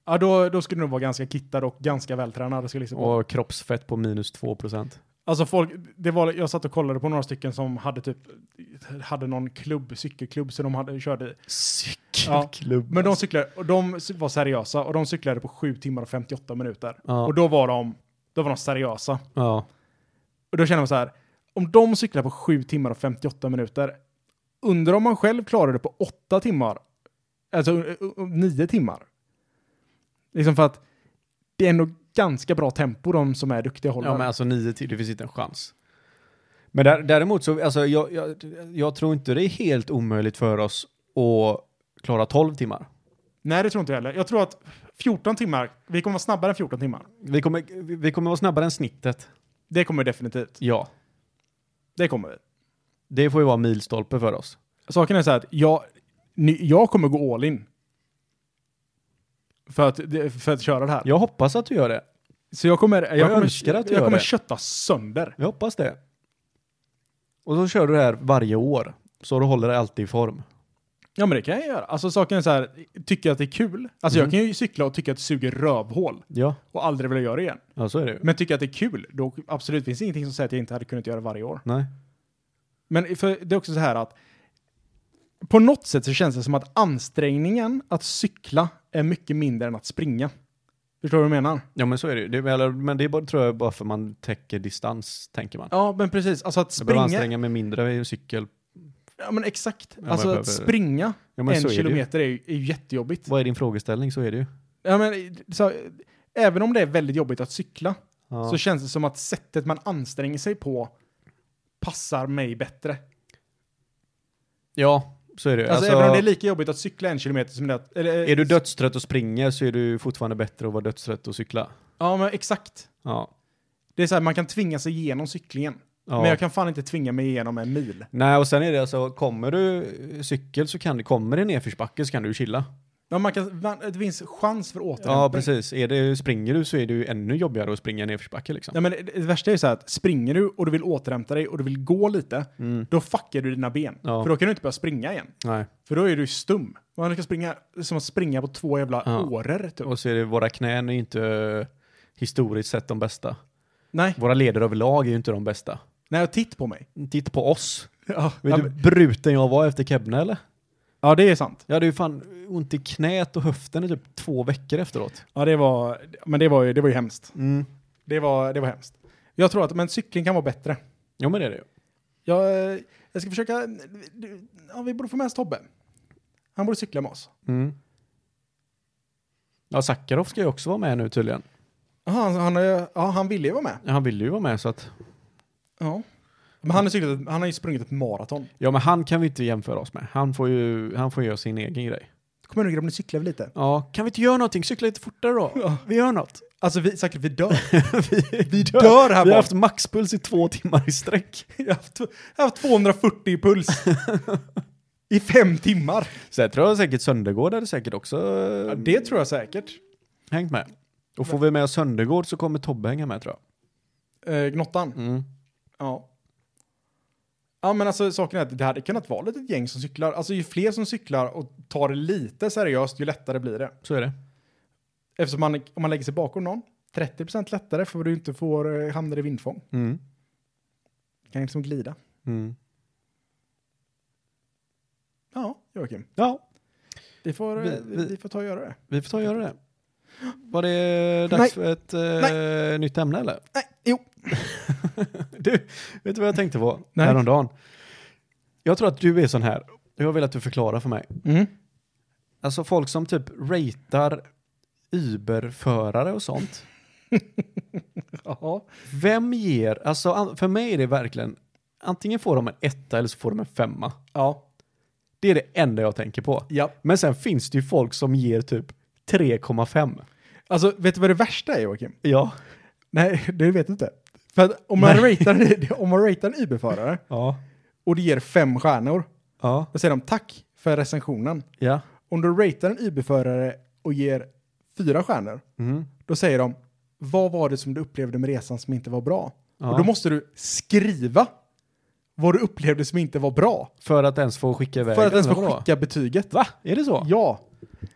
S4: Ja, då, då skulle du nog vara ganska kittad och ganska vältränad. Det skulle liksom vara-
S3: Och kroppsfett på minus 2%.
S4: Alltså folk, det var, jag satt och kollade på några stycken som hade typ, hade någon klubb, cykelklubb, så de hade, körde.
S3: Cykelklubb.
S4: Men de cyklade, och de var seriösa och de cyklade på 7 timmar och 58 minuter.
S3: Ja.
S4: Och då var de, då var de seriösa.
S3: ja.
S4: Och då känner man så här, om de cyklar på 7 timmar och 58 minuter, undrar om man själv klarar det på 8 timmar, alltså 9 timmar. Liksom för att det är ändå ganska bra tempo de som är duktiga håller.
S3: Ja, men alltså 9 till, det finns inte en chans. Men där, däremot så, alltså jag, jag, jag tror inte det är helt omöjligt för oss att klara 12 timmar.
S4: Nej, det tror inte jag heller. Jag tror att 14 timmar, vi kommer vara snabbare än 14 timmar.
S3: Vi kommer, vi- vi kommer vara snabbare än snittet.
S4: Det kommer vi definitivt.
S3: Ja.
S4: Det kommer vi.
S3: Det får ju vara milstolpe för oss.
S4: Saken är så här att jag, ni, jag kommer gå all in. För att, för att köra det här.
S3: Jag hoppas att du gör det.
S4: Så jag kommer, jag,
S3: jag önskar
S4: kommer,
S3: att du
S4: jag
S3: gör
S4: kommer
S3: det.
S4: kötta sönder.
S3: Jag hoppas det. Och så kör du det här varje år. Så du håller dig alltid i form.
S4: Ja men det kan jag göra. Alltså saken är så här, tycker jag att det är kul? Alltså
S3: Mm.
S4: jag kan ju cykla och tycka att det suger rövhål
S3: Ja,
S4: och aldrig vilja göra det igen.
S3: ja så är det ju.
S4: Men tycker jag att det är kul, då absolut finns det ingenting som säger att jag inte hade kunnat göra det varje år.
S3: Nej.
S4: Men för det är också så här att på något sätt så känns det som att ansträngningen att cykla är mycket mindre än att springa. Förstår du vad jag menar?
S3: Ja men så är det ju. Det, är- eller, men det är bara, tror jag bara för man täcker distans, tänker man.
S4: Ja, men precis. Alltså att
S3: Jag behöver
S4: springa...
S3: anstränga mig mindre i cykel.
S4: Ja, men exakt.
S3: men
S4: alltså
S3: jag
S4: att
S3: behöver-
S4: springa
S3: Ja, men så
S4: en
S3: är det ju.
S4: kilometer är ju, är ju jättejobbigt.
S3: Vad är din frågeställning? Så är det ju.
S4: Ja, men, så, även om det är väldigt jobbigt att cykla
S3: Ja.
S4: så känns det som att sättet man anstränger sig på passar mig bättre.
S3: ja, så är det ju.
S4: Alltså,
S3: Alltså,
S4: även om det är lika jobbigt att cykla en kilometer som det att... Eller,
S3: är du dödstrött och springer så är du fortfarande bättre att vara dödstrött och cykla.
S4: Ja, men exakt.
S3: Ja.
S4: Det är så här, man kan tvinga sig igenom cyklingen.
S3: ja.
S4: Men jag kan fan inte tvinga mig igenom en mil.
S3: Nej, och sen är det alltså, kommer du eh, cykel så kan du, kommer det nedförsbacke så kan du chilla.
S4: Ja, man kan, man, det finns chans för återhämtning.
S3: Ja, precis. Är det, springer du så är det ju ännu jobbigare att springa i nedförsbacke liksom.
S4: Nej, men det- det värsta är ju så här att springer du och du vill återhämta dig och du vill gå lite,
S3: Mm.
S4: då fuckar du dina ben.
S3: Ja.
S4: För då kan du inte börja springa igen.
S3: Nej.
S4: För då är du ju stum. Man ska springa som att springa på två jävla
S3: Ja.
S4: åror. Typ.
S3: Och så är det, våra knän är ju inte eh, historiskt sett de bästa.
S4: Nej,
S3: Våra leder överlag är ju inte de bästa.
S4: nej, och titt på mig.
S3: Titta på oss.
S4: Ja,
S3: Vet
S4: ja,
S3: du hur bruten jag var efter Kebne eller?
S4: ja, det är sant.
S3: Jag hade ju fan ont i knät och höften i typ två veckor efteråt.
S4: Ja, det var, men det var ju, det var ju hemskt.
S3: Mm.
S4: Det var, det var hemskt. Jag tror att men cykling kan vara bättre.
S3: Jo men det är det ju.
S4: Jag, eh, jag ska försöka... Ja, vi borde få med oss Tobbe. Han borde cykla med oss.
S3: Mm. Ja, Sakharov ska ju också vara med nu tydligen.
S4: Aha, han, han, är- ja, han ville ju vara med.
S3: Ja, Han ville ju vara med så att...
S4: Ja. Men han, är cyklat, han har ju sprungit ett maraton.
S3: Ja, men han kan vi inte jämföra oss med. Han får ju, han får göra sin egen grej.
S4: Kom igen nu grabbar, nu cyklar vi lite.
S3: Ja, kan vi inte göra någonting? Cykla lite fortare då. Vi gör något.
S4: Alltså vi, säkert vi dör.
S3: vi, vi
S4: dör här
S3: Vi
S4: bak.
S3: har haft maxpuls i två timmar i sträck.
S4: Jag har haft, jag har haft 240 i puls. I fem timmar.
S3: Så jag tror jag säkert Söndergård hade säkert också eh,
S4: Ja, det tror jag säkert.
S3: hängt med. Och får vi med oss Söndergård så kommer Tobbe hänga med tror
S4: Eh, gnottan.
S3: jag. Mm.
S4: Ja. Ja men alltså saken är att det hade kunnat vara ett gäng som cyklar. Alltså ju fler som cyklar och tar det lite seriöst ju lättare blir det.
S3: Så är det.
S4: Eftersom man, om man lägger sig bakom någon, 30% lättare för du inte får eh, hamna i vindfång.
S3: Mm.
S4: Kan liksom glida.
S3: Mm.
S4: Ja, Joakim.
S3: Ja,
S4: Vi får, eh,
S3: Vi- vi-
S4: vi får ta och göra det.
S3: Vi får ta och göra det. Var det dags
S4: Nej.
S3: för ett eh, nytt ämne eller?
S4: Nej, jo.
S3: Du, vet du vad jag tänkte på
S4: Nej.
S3: häromdagen? Jag tror att du är sån här. Jag vill att du förklarar för mig.
S4: Mm.
S3: Alltså folk som typ ratear Uber-förare och sånt.
S4: Ja.
S3: Vem ger, alltså an- för mig är det verkligen, antingen får de en etta eller så får de en femma.
S4: Ja.
S3: Det är det enda jag tänker på.
S4: ja.
S3: Men sen finns det ju folk som ger typ 3,5.
S4: Alltså vet du vad det värsta är Joakim?
S3: Ja.
S4: Nej, det vet du inte. För att om man ratear, om man ratear en Uber-förare
S3: Ja.
S4: och det ger fem stjärnor,
S3: Ja.
S4: då säger de tack för recensionen.
S3: Ja.
S4: Om du ratear en Uber-förare och ger fyra stjärnor,
S3: Mm.
S4: då säger de vad var det som du upplevde med resan som inte var bra?
S3: Ja.
S4: Och då måste du skriva vad du upplevde som inte var bra
S3: För att ens få skicka iväg
S4: för att
S3: den,
S4: ens
S3: eller
S4: få
S3: vadå?
S4: skicka betyget.
S3: Va? Är det så?
S4: Ja,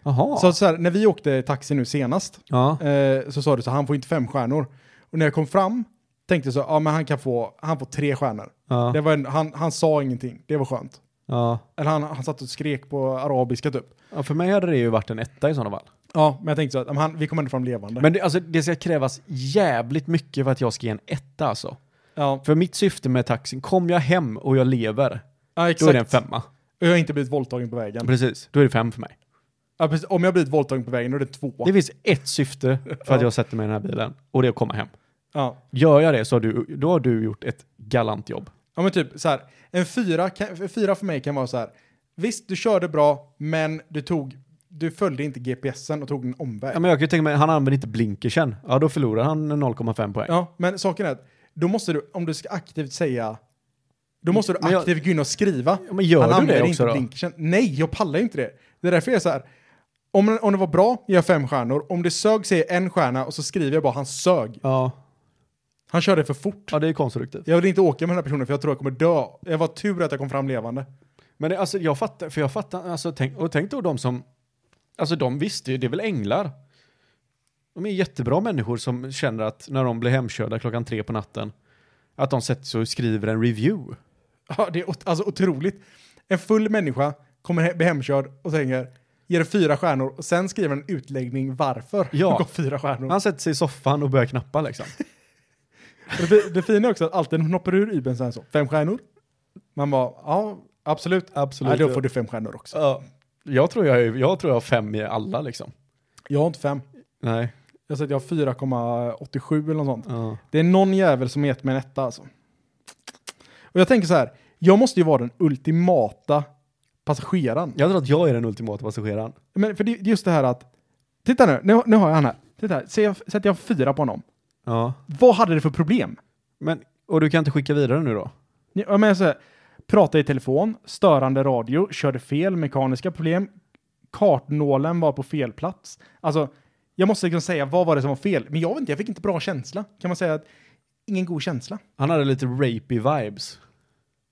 S3: Jaha.
S4: så, så här, när vi åkte taxi nu senast
S3: ja.
S4: eh, så sa du så här, han får inte fem stjärnor. Och när jag kom fram tänkte jag så här, ja men han kan få, han får tre stjärnor.
S3: Ja.
S4: Det var en, han, han sa ingenting, det var skönt.
S3: Ja.
S4: Eller han, han satt och skrek på arabiska typ.
S3: ja. För mig hade det ju varit en etta i sådana fall.
S4: Ja, men jag tänkte så att ja, men han, vi kommer ändå fram levande.
S3: Men det, alltså, det ska krävas jävligt mycket för att jag ska ge en etta alltså.
S4: ja,
S3: För mitt syfte med taxin, kom jag hem och jag lever,
S4: ja,
S3: då
S4: exakt.
S3: är det en femma.
S4: Och jag har inte blivit våldtagen på vägen.
S3: Precis, då är det fem för mig.
S4: Ja, precis. Om jag har blivit våldtagen på vägen då är det två.
S3: Det finns ett syfte för
S4: Ja.
S3: att jag sätter mig i den här bilen och det är att komma hem.
S4: Ja.
S3: Gör jag det så har du, då har du gjort ett galant jobb.
S4: ja, men typ så här. En fyra, kan, en fyra för mig kan vara så här. Visst, du körde bra, men du tog, du följde inte GPSen och tog en omväg.
S3: Ja, men jag kan ju tänka mig, han använder inte blinkersen. Ja, då förlorar han 0,5 poäng.
S4: Ja, men saken är att då måste du, om du ska aktivt säga, då måste du
S3: Men jag-
S4: aktivt gå in och skriva.
S3: Ja, men gör du det
S4: använder
S3: också
S4: inte
S3: då?
S4: blinkersen. Nej, jag pallar ju inte det. Det är därför jag är så här, om, om det var bra, ger jag fem stjärnor. Om det sög, säger jag en stjärna och så skriver jag bara han sög.
S3: Ja.
S4: Han körde för fort.
S3: ja, det är konstruktivt.
S4: Jag vill inte åka med den här personen för jag tror jag kommer dö. Jag var tur att jag kom fram levande.
S3: Men det, alltså jag fattar, för jag fattar, alltså tänk, och tänk då de som, alltså de visste ju, det är väl änglar. De är jättebra människor som känner att när de blir hemkörda klockan tre på natten, att de sätter sig och skriver en review.
S4: Ja, det är ot- alltså otroligt. En full människa kommer he- bli hemkörd och tänker, ger det fyra stjärnor och sen skriver en utläggning varför
S3: Ja.
S4: det gav fyra stjärnor.
S3: Han sätter sig i soffan och börjar knappa liksom.
S4: Och Det, det fina är också att alltid när man hoppar ur Uben så här så, fem stjärnor. Man bara, ja, absolut.
S3: Absolut.
S4: Nej, då får du fem stjärnor också.
S3: ja, jag, tror jag, är- jag tror jag har fem i alla liksom.
S4: Jag har inte fem.
S3: Nej.
S4: Jag säger att jag har 4,87 eller något sånt.
S3: Ja.
S4: Det är någon jävel som har gett mig en etta alltså. Och jag tänker så här, jag måste ju vara den ultimata passageraren.
S3: Jag tror att jag är den ultimata passageraren.
S4: Men för det det är just det här att, titta nu, nu, nu har jag han här. Titta här, ser jag, sätter jag fyra på honom.
S3: Ja.
S4: Vad hade det för problem?
S3: Men, och du kan inte skicka vidare nu då?
S4: Ni- Jag menar så här, prata i telefon, störande radio, körde fel, mekaniska problem, kartnålen var på fel plats. Alltså, jag måste liksom säga vad var det som var fel, men jag vet inte, jag fick inte bra känsla. Kan man säga att ingen god känsla?
S3: Han hade lite rapey vibes.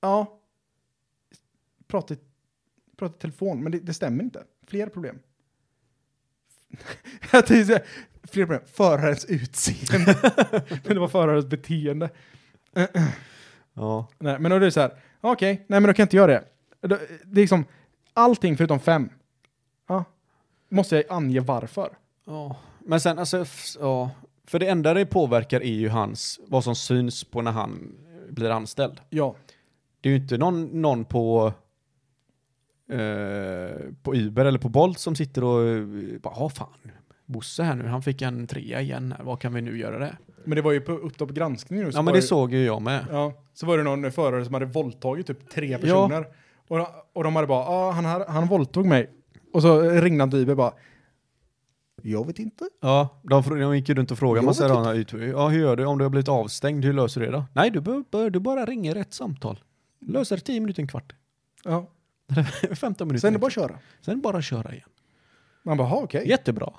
S4: Ja. Prata i, prata i telefon, men det, det stämmer inte. Fler problem. Jag tänkte säga, Fler problem. Förarens utseende. men det var förarens beteende.
S3: Ja.
S4: Nej, men då är det så här, okej, nej men då kan jag inte göra det. Då- Det är liksom, allting förutom fem, ja, måste jag ange varför.
S3: Ja, men sen alltså, f- ja. För det enda det påverkar är ju hans, vad som syns på när han blir anställd.
S4: Ja.
S3: Det är ju inte någon, någon på, eh, på Uber eller på Bolt som sitter och eh, bara, ja fan, Bosse här nu, han fick en trea igen. här. Vad kan vi nu göra det?
S4: Men det var ju på Uppdrag granskning nu. så
S3: Ja, men
S4: var
S3: det
S4: ju-
S3: såg ju jag med.
S4: Ja, så var det någon förare som hade våldtagit typ tre personer. Och, och de hade bara, ah, han, här- han våldtog mig. Och så ringde han till IB bara, jag vet inte.
S3: Ja, de, frå- de gick ju runt och frågade
S4: Jag
S3: massa
S4: vet
S3: rana ytor. Ja, hur gör du om du har blivit avstängd? Hur löser du det då? Nej, du, bör, bör, du bara ringer rätt samtal. Löser 10 minuter, en kvart.
S4: Ja.
S3: 15 minuter.
S4: Sen är det bara att köra.
S3: Sen bara köra igen.
S4: Man bara, "Ha, okej.
S3: Jättebra.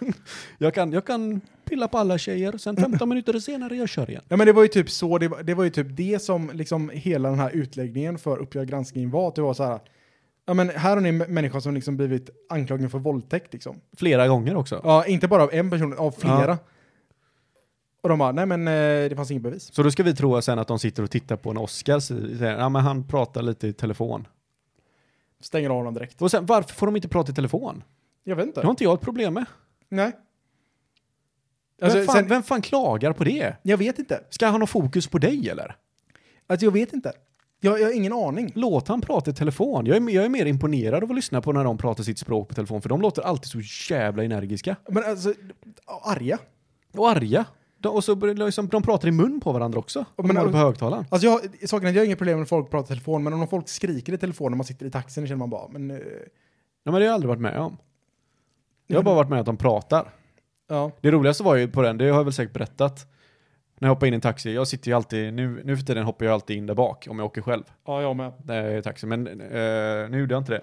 S3: jag, kan, jag kan pilla på alla tjejer, sen 15 minuter senare jag kör igen.
S4: Ja men det var ju typ så, det var, det var ju typ det som liksom hela den här utläggningen för Uppdrag granskning var, att det var så här, ja men här har ni m- människor som liksom blivit anklagade för våldtäkt liksom.
S3: Flera gånger också.
S4: Ja, inte bara av en person, av flera.
S3: Ja.
S4: Och de bara, nej men eh, det fanns inget bevis.
S3: Så då ska vi tro sen att de sitter och tittar på en Oscar, så- så- ja, men han pratar lite i telefon.
S4: Stänger av dem direkt.
S3: Och sen, varför får de inte prata i telefon?
S4: Jag vet inte.
S3: Det har inte jag ett problem med.
S4: Nej. Alltså,
S3: Vem fan,
S4: sen,
S3: vem fan klagar på det?
S4: jag vet inte.
S3: Ska han ha fokus på dig eller?
S4: Alltså jag vet inte. Jag, jag har ingen aning.
S3: Låt han prata i telefon. Jag är, jag är mer imponerad av att lyssna på när de pratar sitt språk på telefon, för de låter alltid så jävla energiska.
S4: Men alltså, arga.
S3: Och arga. De, och så börjar det liksom, de pratar i mun på varandra också. Om
S4: men-
S3: de håller på högtalaren.
S4: Alltså jag, saken är att jag har inget problem med folk pratar i telefon, men om folk skriker i telefon när man sitter i taxin, då känner man bara, men... eh,
S3: Nej, men det har jag aldrig varit med om. Jag har bara varit med att de pratar.
S4: Ja.
S3: Det roligaste var ju på den, det har jag väl säkert berättat. När jag hoppar in i en taxi, jag sitter ju alltid, nu, nu för tiden hoppar jag alltid in där bak om jag åker själv.
S4: Ja, jag med.
S3: När jag är i taxi, men eh, nu gjorde jag inte det.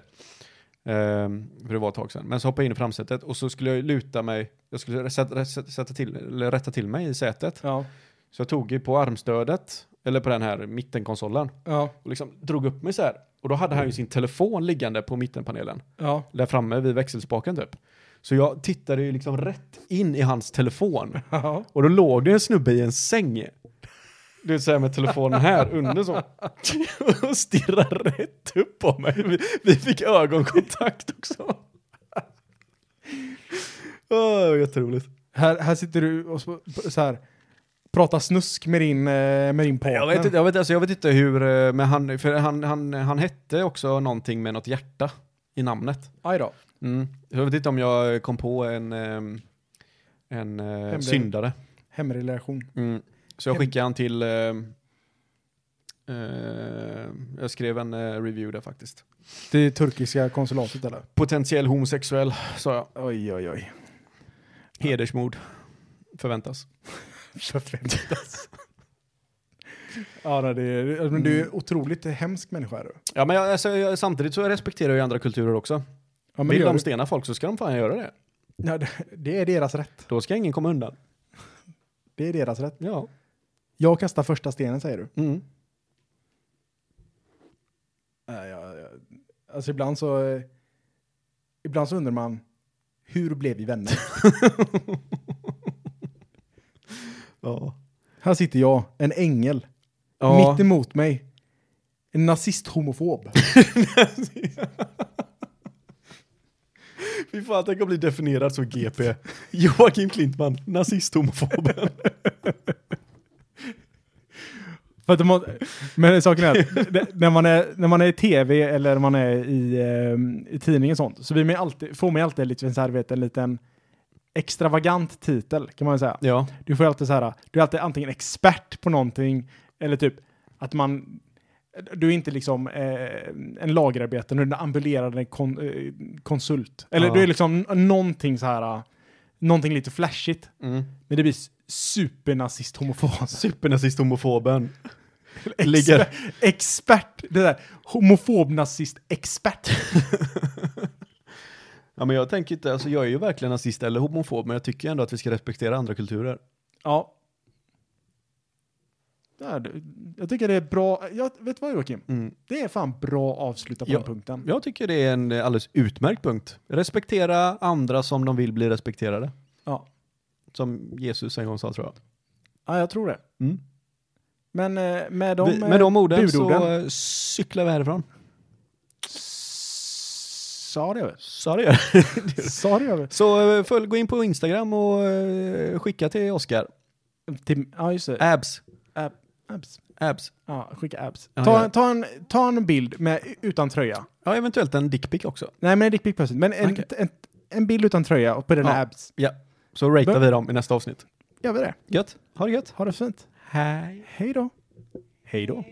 S3: Ehm, för det var ett tag sedan. Men så hoppade jag in i framsätet och så skulle jag luta mig, jag skulle sätta, sätta, sätta till, eller rätta till mig i sätet.
S4: Ja.
S3: Så jag tog ju på armstödet, eller på den här mittenkonsolen,
S4: Ja.
S3: och liksom drog upp mig så här. Och då hade han ju sin telefon liggande på mittenpanelen
S4: Ja.
S3: där framme vid växelspaken typ. Så jag tittade ju liksom rätt in i hans telefon.
S4: Ja.
S3: Och då låg det en snubbe i en säng. Du vet såhär med telefonen här under så. Och stirrade rätt upp på mig. Vi, vi fick ögonkontakt också. Oh, jätteroligt.
S4: Här, här sitter du och så, så här, pratar snusk med din, eh, med din partner.
S3: Jag vet, inte- jag, vet, alltså, jag vet inte hur, eh, men han, för han, han, han hette också någonting med något hjärta i namnet.
S4: Aj då.
S3: Mm. Jag vet inte om jag kom på en, ehm, en eh, syndare.
S4: Hemrelation.
S3: Mm. Så jag
S4: Hem-
S3: skickade han till... ehm, eh, jag skrev en eh, review där faktiskt.
S4: Det turkiska konsulatet eller?
S3: Potentiell homosexuell, sa jag.
S4: Oj, oj, oj.
S3: Hedersmord förväntas. alltså.
S4: Förväntas. ja, nej, det är, men du är
S3: Mm.
S4: otroligt hemsk människa. Är du.
S3: Ja, men jag, alltså, jag, samtidigt så respekterar jag ju andra kulturer också.
S4: Ja, men det,
S3: Vill
S4: gör
S3: de
S4: du.
S3: stena folk så ska de fan göra det.
S4: Ja, det- det är deras rätt.
S3: Då ska ingen komma undan.
S4: Det är deras rätt.
S3: Ja.
S4: Jag kastar första stenen säger du.
S3: Mm.
S4: Nej, jag, jag, alltså ibland så... eh, Ibland så undrar man, hur blev vi vänner?
S3: Ja.
S4: Här sitter jag, en ängel,
S3: Ja.
S4: mitt emot mig. En nazist-homofob.
S3: Fy fan, tänk att bli definierad som GP. Joakim Klintman, nazist-homofoben.
S4: För att de har, men saken är att det- när man är, när man är i tv eller när man är i, ehm, i tidningen och sånt så blir man ju alltid, får man ju alltid lite, så här, vet, en liten extravagant titel kan man ju säga.
S3: ja.
S4: Du får ju alltid så här, du är alltid antingen expert på någonting eller typ att man, du är inte liksom eh, en lagerarbetare, du är en ambulerande kon, eh, konsult. Eller
S3: Ja.
S4: du är liksom n- någonting så här, eh, någonting lite flashigt.
S3: Mm.
S4: Men det blir s- supernazist-homofobs.
S3: Supernazist-homofoben.
S4: Exper-
S3: Ligger-
S4: Expert. Det där. Homofob nazist expert.
S3: Ja, men jag tänker inte, alltså jag är ju verkligen nazist eller homofob, men jag tycker ändå att vi ska respektera andra kulturer.
S4: Ja. Där, du. jag tycker det är bra. Jag, vet du vad Joakim? Det är fan bra avslut på
S3: Ja.
S4: den punkten.
S3: Mm. Jag tycker det är en eh, alldeles utmärkt punkt. Respektera andra som de vill bli respekterade.
S4: Ja.
S3: Som Jesus en gång sa tror jag.
S4: ja, jag tror det.
S3: Mm.
S4: Men eh, med de,
S3: Vi- Med de orden så
S4: budorden.
S3: eh, cyklar vi härifrån.
S4: Sa det väl?
S3: Så det gör
S4: Sa det väl?
S3: Så eh, följ, gå in på Instagram och eh, skicka till Oskar.
S4: Till- Ja, just det.
S3: Abs.
S4: Abs.
S3: Abs.
S4: Ja, skicka abs.
S3: Ja,
S4: Ta,
S3: ja.
S4: ta, en, ta en bild med, utan tröja.
S3: Ja, eventuellt en dickpic också.
S4: Nej, men en dickpic plötsligt. Men en,
S3: Okej.
S4: en, en bild utan tröja och på dina
S3: Ja.
S4: abs.
S3: Så ratear
S4: Men-
S3: vi dem i nästa avsnitt.
S4: Gör vi det.
S3: Gött. Ha det gött.
S4: Ha det fint.
S3: Hej.
S4: Hej då.
S3: Hej då.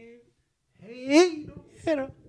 S4: Hej då.